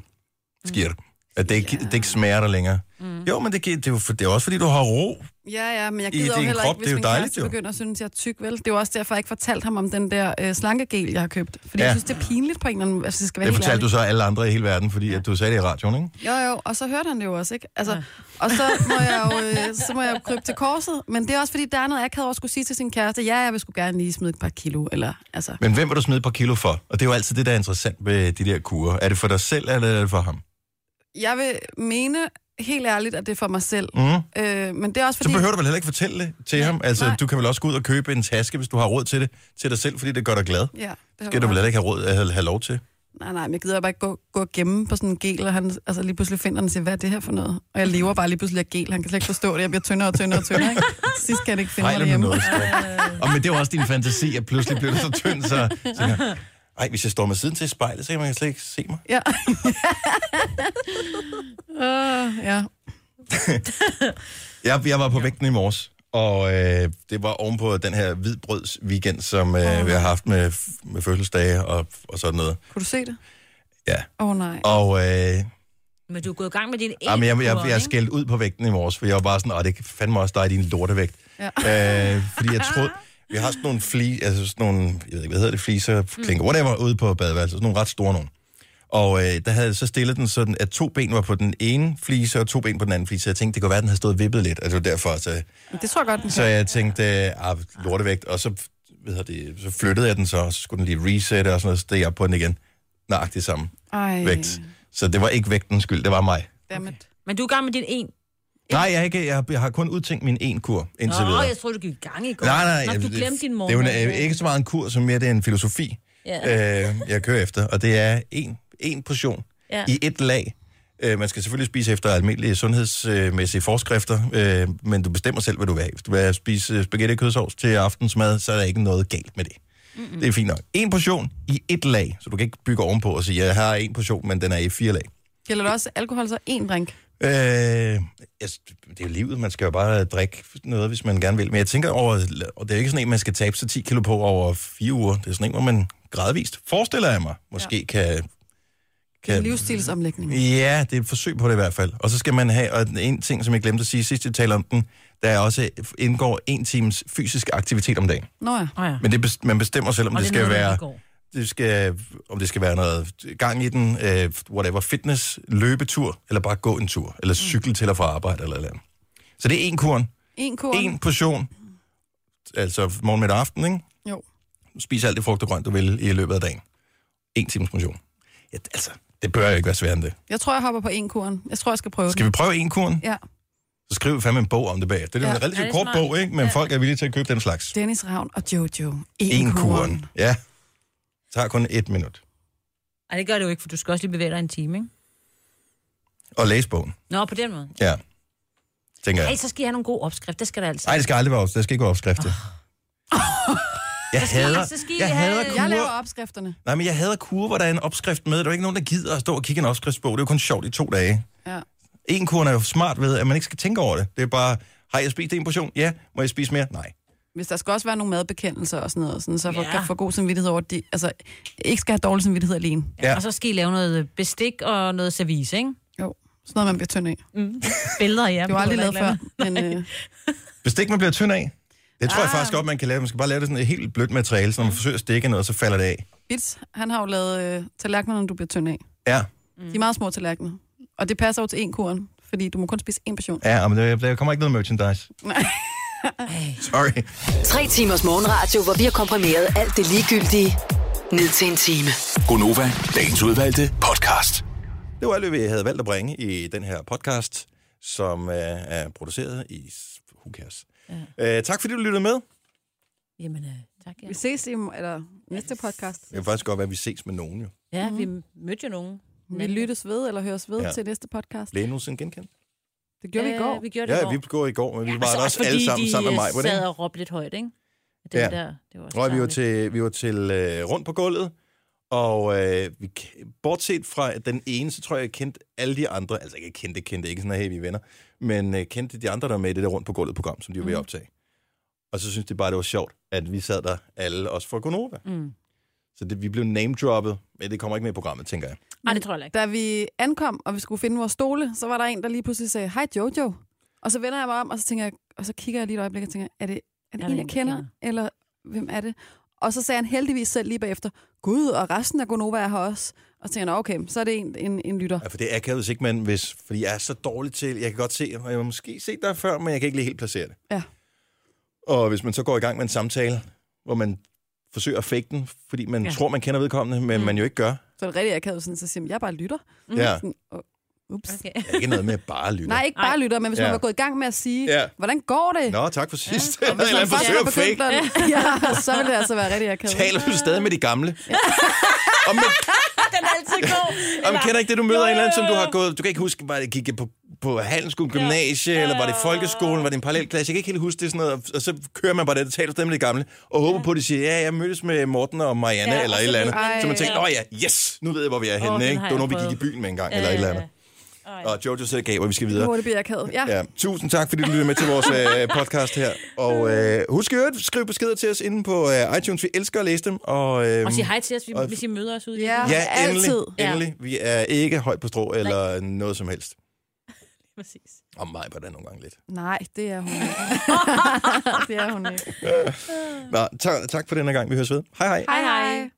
S2: Skir.
S1: Mm.
S2: At det ikke, det ikke smager dig længere. Mm. Jo, men det, gi- det, er jo, for- det er også, fordi du har ro.
S1: Ja, ja, men jeg
S2: I
S1: gider jo
S2: din
S1: heller
S2: krop,
S1: ikke,
S2: det er
S1: hvis
S2: jo
S1: min
S2: dejligt,
S1: kæreste
S2: jo.
S1: begynder at synes, jeg er tyk, vel? Det er jo også derfor, jeg ikke fortalte ham om den der øh, slankegel, jeg har købt. Fordi
S2: Ja.
S1: jeg synes, det er pinligt på en eller anden... Altså, det skal være
S2: Det
S1: helt
S2: fortalte
S1: ærligt.
S2: du så alle andre i hele verden, fordi ja. at du sagde det i radioen, ikke?
S1: Jo, jo, og så hørte han det jo også, ikke? Altså, ja. Og så må jeg jo øh, så må jeg jo krybe til korset, men det er også fordi, der er noget, jeg kan også skulle sige til sin kæreste, ja, jeg vil sgu gerne lige smide et par kilo, eller altså...
S2: Men hvem vil du smide et par kilo for? Og det er jo altid det, der er interessant ved de der kurer. Er det for dig selv, eller er det for ham?
S1: Jeg vil mene helt ærligt, at det er for mig selv,
S2: Mhm.
S1: øh, men det er også
S2: Så
S1: fordi...
S2: behøver du vel heller ikke fortælle det til ham? Altså,
S1: nej.
S2: du kan vel også gå ud og købe en taske, hvis du har råd til det, til dig selv, fordi det gør dig glad.
S1: Ja, det
S2: Skal du vel heller ikke have, råd, have, have lov til?
S1: Nej, nej, men jeg gider bare ikke gå, gå og gemme på sådan en gel, og han altså, lige pludselig finder den og siger, hvad er det her for noget? Og jeg lever bare lige pludselig af gel, han kan slet ikke forstå det, jeg bliver tyndere og tyndere og tyndere, ikke? Sidst kan jeg ikke finde mig
S2: Fejler med
S1: derhjemme.
S2: noget. sgu. og men det er jo også din fantasi, at pludselig bliver du så tynd, så tænker, jeg, ej, hvis jeg står med siden til spejlet, så kan man slet ikke se mig.
S1: Ja. uh, ja.
S2: Jeg, jeg var på vægten i morges, og øh, det var ovenpå den her hvidbrøds weekend, som øh, vi har haft med, med fødselsdage og, og sådan noget.
S1: Kunne du se det?
S2: Ja.
S1: Åh oh, nej.
S2: Og øh,
S8: Men du er gået i gang med din
S2: Ej, men jeg, jeg,
S8: æggekur,
S2: jeg
S8: ikke?
S2: skældte ud på vægten i morges, for jeg var bare sådan, "Åh, det fandme også dig, din lortevægt.
S1: Ja.
S2: Øh, fordi jeg troede, vi har sådan nogle fli, altså sådan nogle, jeg ved ikke, hvad hedder det, fliser, klinker, mm. whatever, ude på badeværelset, sådan nogle ret store nogle. Og øh, der havde jeg så stillet den sådan, at to ben var på den ene flise, og to ben på den anden flise. Så jeg tænkte, det kunne være, at den havde stået vippet lidt, og det var derfor. Så,
S1: Det tror jeg godt, den
S2: så
S1: kan.
S2: jeg tænkte, øh, ah, lortevægt, og så, hvad hedder det, så flyttede jeg den så, og så skulle den lige resette og sådan noget, så steg jeg op på den igen. Nøjagtigt samme
S1: Ej.
S2: vægt. Så det var ikke vægtens skyld, det var mig.
S1: Dammit.
S8: Men du er i gang med din en.
S2: Nej, jeg, er ikke, jeg, jeg har kun udtænkt min en kur indtil
S8: Nå,
S2: videre.
S8: jeg troede, du gik i gang i går.
S2: Nej, nej,
S8: Nå,
S2: jeg-
S8: du glemte din mor.
S2: Det er jo en- øh, ikke så meget en kur, som mere det er en filosofi,
S8: Ja.
S2: øh, jeg kører efter. Og det er en, en portion
S8: Ja.
S2: ja. i et lag Øh, man skal selvfølgelig spise efter almindelige sundhedsmæssige forskrifter, øh, men du bestemmer selv, hvad du vil have. Hvis du vil have spise øh, spaghetti og kødsovs til aftensmad, så er der ikke noget galt med det. Mm-hmm. Det er fint nok. En portion i et lag, så du kan ikke bygge ovenpå og sige, jeg har en portion, men den er i fire lag.
S1: Gælder det også alkohol, så én drink?
S2: Øh, altså, det er jo livet, man skal jo bare drikke noget, hvis man gerne vil. Men jeg tænker over, og det er jo ikke sådan en, man skal tabe sig 10 kilo på over fire uger. Det er sådan en, hvor man gradvist, forestiller jeg mig, måske ja. kan...
S1: Kan... En livsstilsomlægning.
S2: Ja, det er et forsøg på det i hvert fald. Og så skal man have, og den ene ting, som jeg glemte at sige sidst, jeg talte om den, der er også indgår en times fysisk aktivitet om dagen.
S1: Nå ja. Nå ja.
S2: Men det bes- man bestemmer selv, om
S1: Og
S2: det,
S1: det er
S2: skal
S1: noget, der
S2: være...
S1: indgår.
S2: Det skal, om det skal være noget gang i den, øh, whatever, fitness, løbetur, eller bare gå en tur,
S1: Mm.
S2: eller cykle til og fra arbejde, eller et eller andet. Så det er en kurn,
S1: En kurv.
S2: en portion, altså morgen, middag og aften, ikke?
S1: Jo.
S2: Du spiser alt det frugt og grønt, du vil i løbet af dagen. En times motion. Ja, altså, det bør jo ikke være sværere end det.
S1: Jeg tror, jeg hopper på en kurven. Jeg tror, jeg skal prøve
S2: Skal vi
S1: den.
S2: prøve en kurn?
S1: Ja.
S2: Så skriv fandme en bog om det bagefter. Det er jo
S1: Ja.
S2: en
S1: Ja,
S2: relativt
S1: det er
S2: kort
S1: smart.
S2: bog, ikke? Men
S1: Ja.
S2: folk er villige til at købe den slags.
S1: Dennis Ravn og Jojo. En,
S2: En
S1: kurv.
S2: kuren. Ja. Det tager kun et minut.
S8: Ej, det gør det jo ikke, for du skal også lige bevæge dig en time, ikke?
S2: Og læs bogen.
S8: Nå, på den måde.
S2: Ja. Tænker
S8: Ja.
S2: jeg.
S8: Ej, så skal jeg have nogle gode opskrifter, det skal der altså.
S2: Nej, det skal aldrig være opskrifter. Det skal ikke være opskrifter. Jeg
S8: Så skal I-
S2: hader,
S8: så skal I
S2: jeg
S8: have-
S2: hader
S1: Jeg laver
S2: kurver.
S1: opskrifterne.
S2: Nej, men jeg hader kurver, hvor der er en opskrift med. Der er jo ikke nogen, der gider at stå og kigge i en opskriftsbog. Det er jo kun sjovt i to dage.
S1: Ja.
S2: En kurven er jo smart ved, at man ikke skal tænke over det. Det er bare, har jeg spist en portion? Ja. Må jeg spise mere? Nej.
S1: Hvis der skal også være nogle madbekendelser og sådan noget, sådan, så for, ja. for god samvittighed over, at de, altså, ikke skal have dårlig samvittighed alene.
S8: Ja. Og så skal I lave noget øh, bestik og noget service, ikke?
S1: Jo, sådan noget, man bliver tynd af.
S8: Mm. Billeder, ja.
S1: Det var aldrig lavet før, men øh,
S2: Bestik, man bliver tynd af. Det tror ah. jeg faktisk godt, man kan lave. Man skal bare lave det sådan et helt blødt materiale, så når man forsøger at stikke noget, så falder det af.
S1: Bits, han har jo lavet øh, tallerkener, når du bliver tynd af.
S2: Ja,
S1: Mm. De er meget små tallerkener. Og det passer jo til én kuren, fordi du må kun spise én portion.
S2: ja men der, der kommer ikke noget merchandise.
S1: Nej.
S2: Sorry.
S7: Tre timers morgenradio, hvor vi har komprimeret alt det ligegyldige ned til en time.
S4: Gonova, dagens udvalgte podcast.
S2: Det var alt, vi havde valgt at bringe i den her podcast, som øh, er produceret i... s- Who cares? Ja. Øh, tak fordi du lyttede med.
S8: Jamen, øh, tak. Ja,
S1: Vi ses i eller, næste podcast. Mhm.
S2: Det kan faktisk godt være, at vi ses med nogen jo.
S8: ja vi mødte jo nogen.
S1: Vi lyttes ved eller høres ved
S2: Ja.
S1: ja. til næste podcast.
S2: Blev I nogensinde genkendt?
S1: Det gjorde øh, vi i går.
S8: Vi gjorde det
S2: Ja,
S8: i går.
S2: vi går i går, men vi var
S8: Altså
S2: der også alle sammen sammen med mig.
S8: Fordi de øh, sad og råbte lidt højt, ikke? Det ja. der, det var også
S2: og vi var
S8: tarveligt.
S2: til, vi var til øh, rundt på gulvet, og øh, vi, k- bortset fra den ene, så tror jeg, jeg kendte alle de andre. Altså ikke kendte, kendte, ikke sådan, at hey, vi er venner. Men øh, kendte de andre, der var med i det der rundt på gulvet program, som de
S8: Mm.
S2: var ved at optage. Og så synes de bare, det var sjovt, at vi sad der alle, også fra Gonova.
S8: Mm.
S2: Så det, vi blev name-droppet, men det kommer ikke med i programmet, tænker jeg.
S8: Nej, det tror jeg ikke.
S1: Da vi ankom, og vi skulle finde vores stole, så var der en, der lige pludselig sagde, hej Jojo. Og så vender jeg mig om, og så, tænker jeg, og så kigger jeg lige et øjeblik og tænker, er det, er det en, jeg kender, eller hvem er det? Og så sagde han heldigvis selv lige bagefter, gud, og resten af Gonova er her også. Og så tænker jeg, "Nå, okay, så er det en, en, en lytter.
S2: Ja, for det er akavet, hvis ikke man, hvis, fordi jeg er så dårlig til, jeg kan godt se, og jeg har måske set dig før, men jeg kan ikke lige helt placere det.
S1: Ja.
S2: Og hvis man så går i gang med en samtale, hvor man forsøger at fake den, fordi man
S1: Ja.
S2: ja. tror, man kender vedkommende, men mm. man jo ikke gør.
S1: Så er det rigtig akavet, sådan, så siger man, jeg er bare lytter.
S8: Mhm.
S2: Ja.
S1: Sådan, og, ups. Okay.
S2: Det er ikke noget med at bare lytte.
S1: Nej, ikke bare lytter, men hvis ja.
S2: Ja.
S1: man var gået i gang med at sige,
S2: Ja.
S1: ja. hvordan går det?
S2: Nå, tak for sidst. Ja.
S1: Og hvis
S2: Eller man
S1: man først
S2: forsøger
S1: har
S2: at fake.
S1: begyndt at... Ja, så vil det altså være rigtig akavet.
S2: Taler du stadig med de gamle? og man,
S8: Den er altid god.
S2: og man kender ikke det, du møder en eller anden, som du har gået... Du kan ikke huske, var det gik jeg på, på Handelsskolen Gymnasie, ja. eller var det folkeskolen, var det en parallelklasse? Jeg kan ikke helt huske det sådan noget. Og, og så kører man bare det, og taler stadig med de gamle, og håber på, at de siger, ja, jeg mødtes med Morten og Marianne,
S8: Ja,
S2: ja, eller
S8: og
S2: et
S8: så
S2: eller andet.
S8: ved man-
S2: Så man tænker,
S8: Ej.
S2: åh ja, yes, nu ved jeg, hvor vi er henne.
S8: Åh, den
S2: ikke?
S8: har
S2: Det var
S8: jeg
S2: noget, vi gik i
S8: prøvet.
S2: byen med en gang,
S8: Ja,
S2: eller et
S8: ja,
S2: eller
S8: ja.
S2: andet. Og Jojo sidder og gaber, vi skal videre.
S1: Nu er det bliver akavet. Ja.
S2: Ja, tusind tak, fordi du lyttede med til vores øh, podcast her. Og øh, husk at skrive beskeder til os inde på øh, iTunes. Vi elsker at læse dem. Og, øh,
S8: Og sige hej til os, vi-
S2: og-
S8: hvis I møder os ude. i
S1: Ja.
S8: byen.
S2: Ja, endelig. endelig. Vi er ikke højt på strå eller noget som helst.
S8: Ja, præcis.
S2: Og mig på det nogle gange lidt.
S1: Nej, det er hun ikke. det er hun ikke.
S2: Nå, tak, tak for denne gang. Vi høres ved. Hej hej.
S1: Hej hej.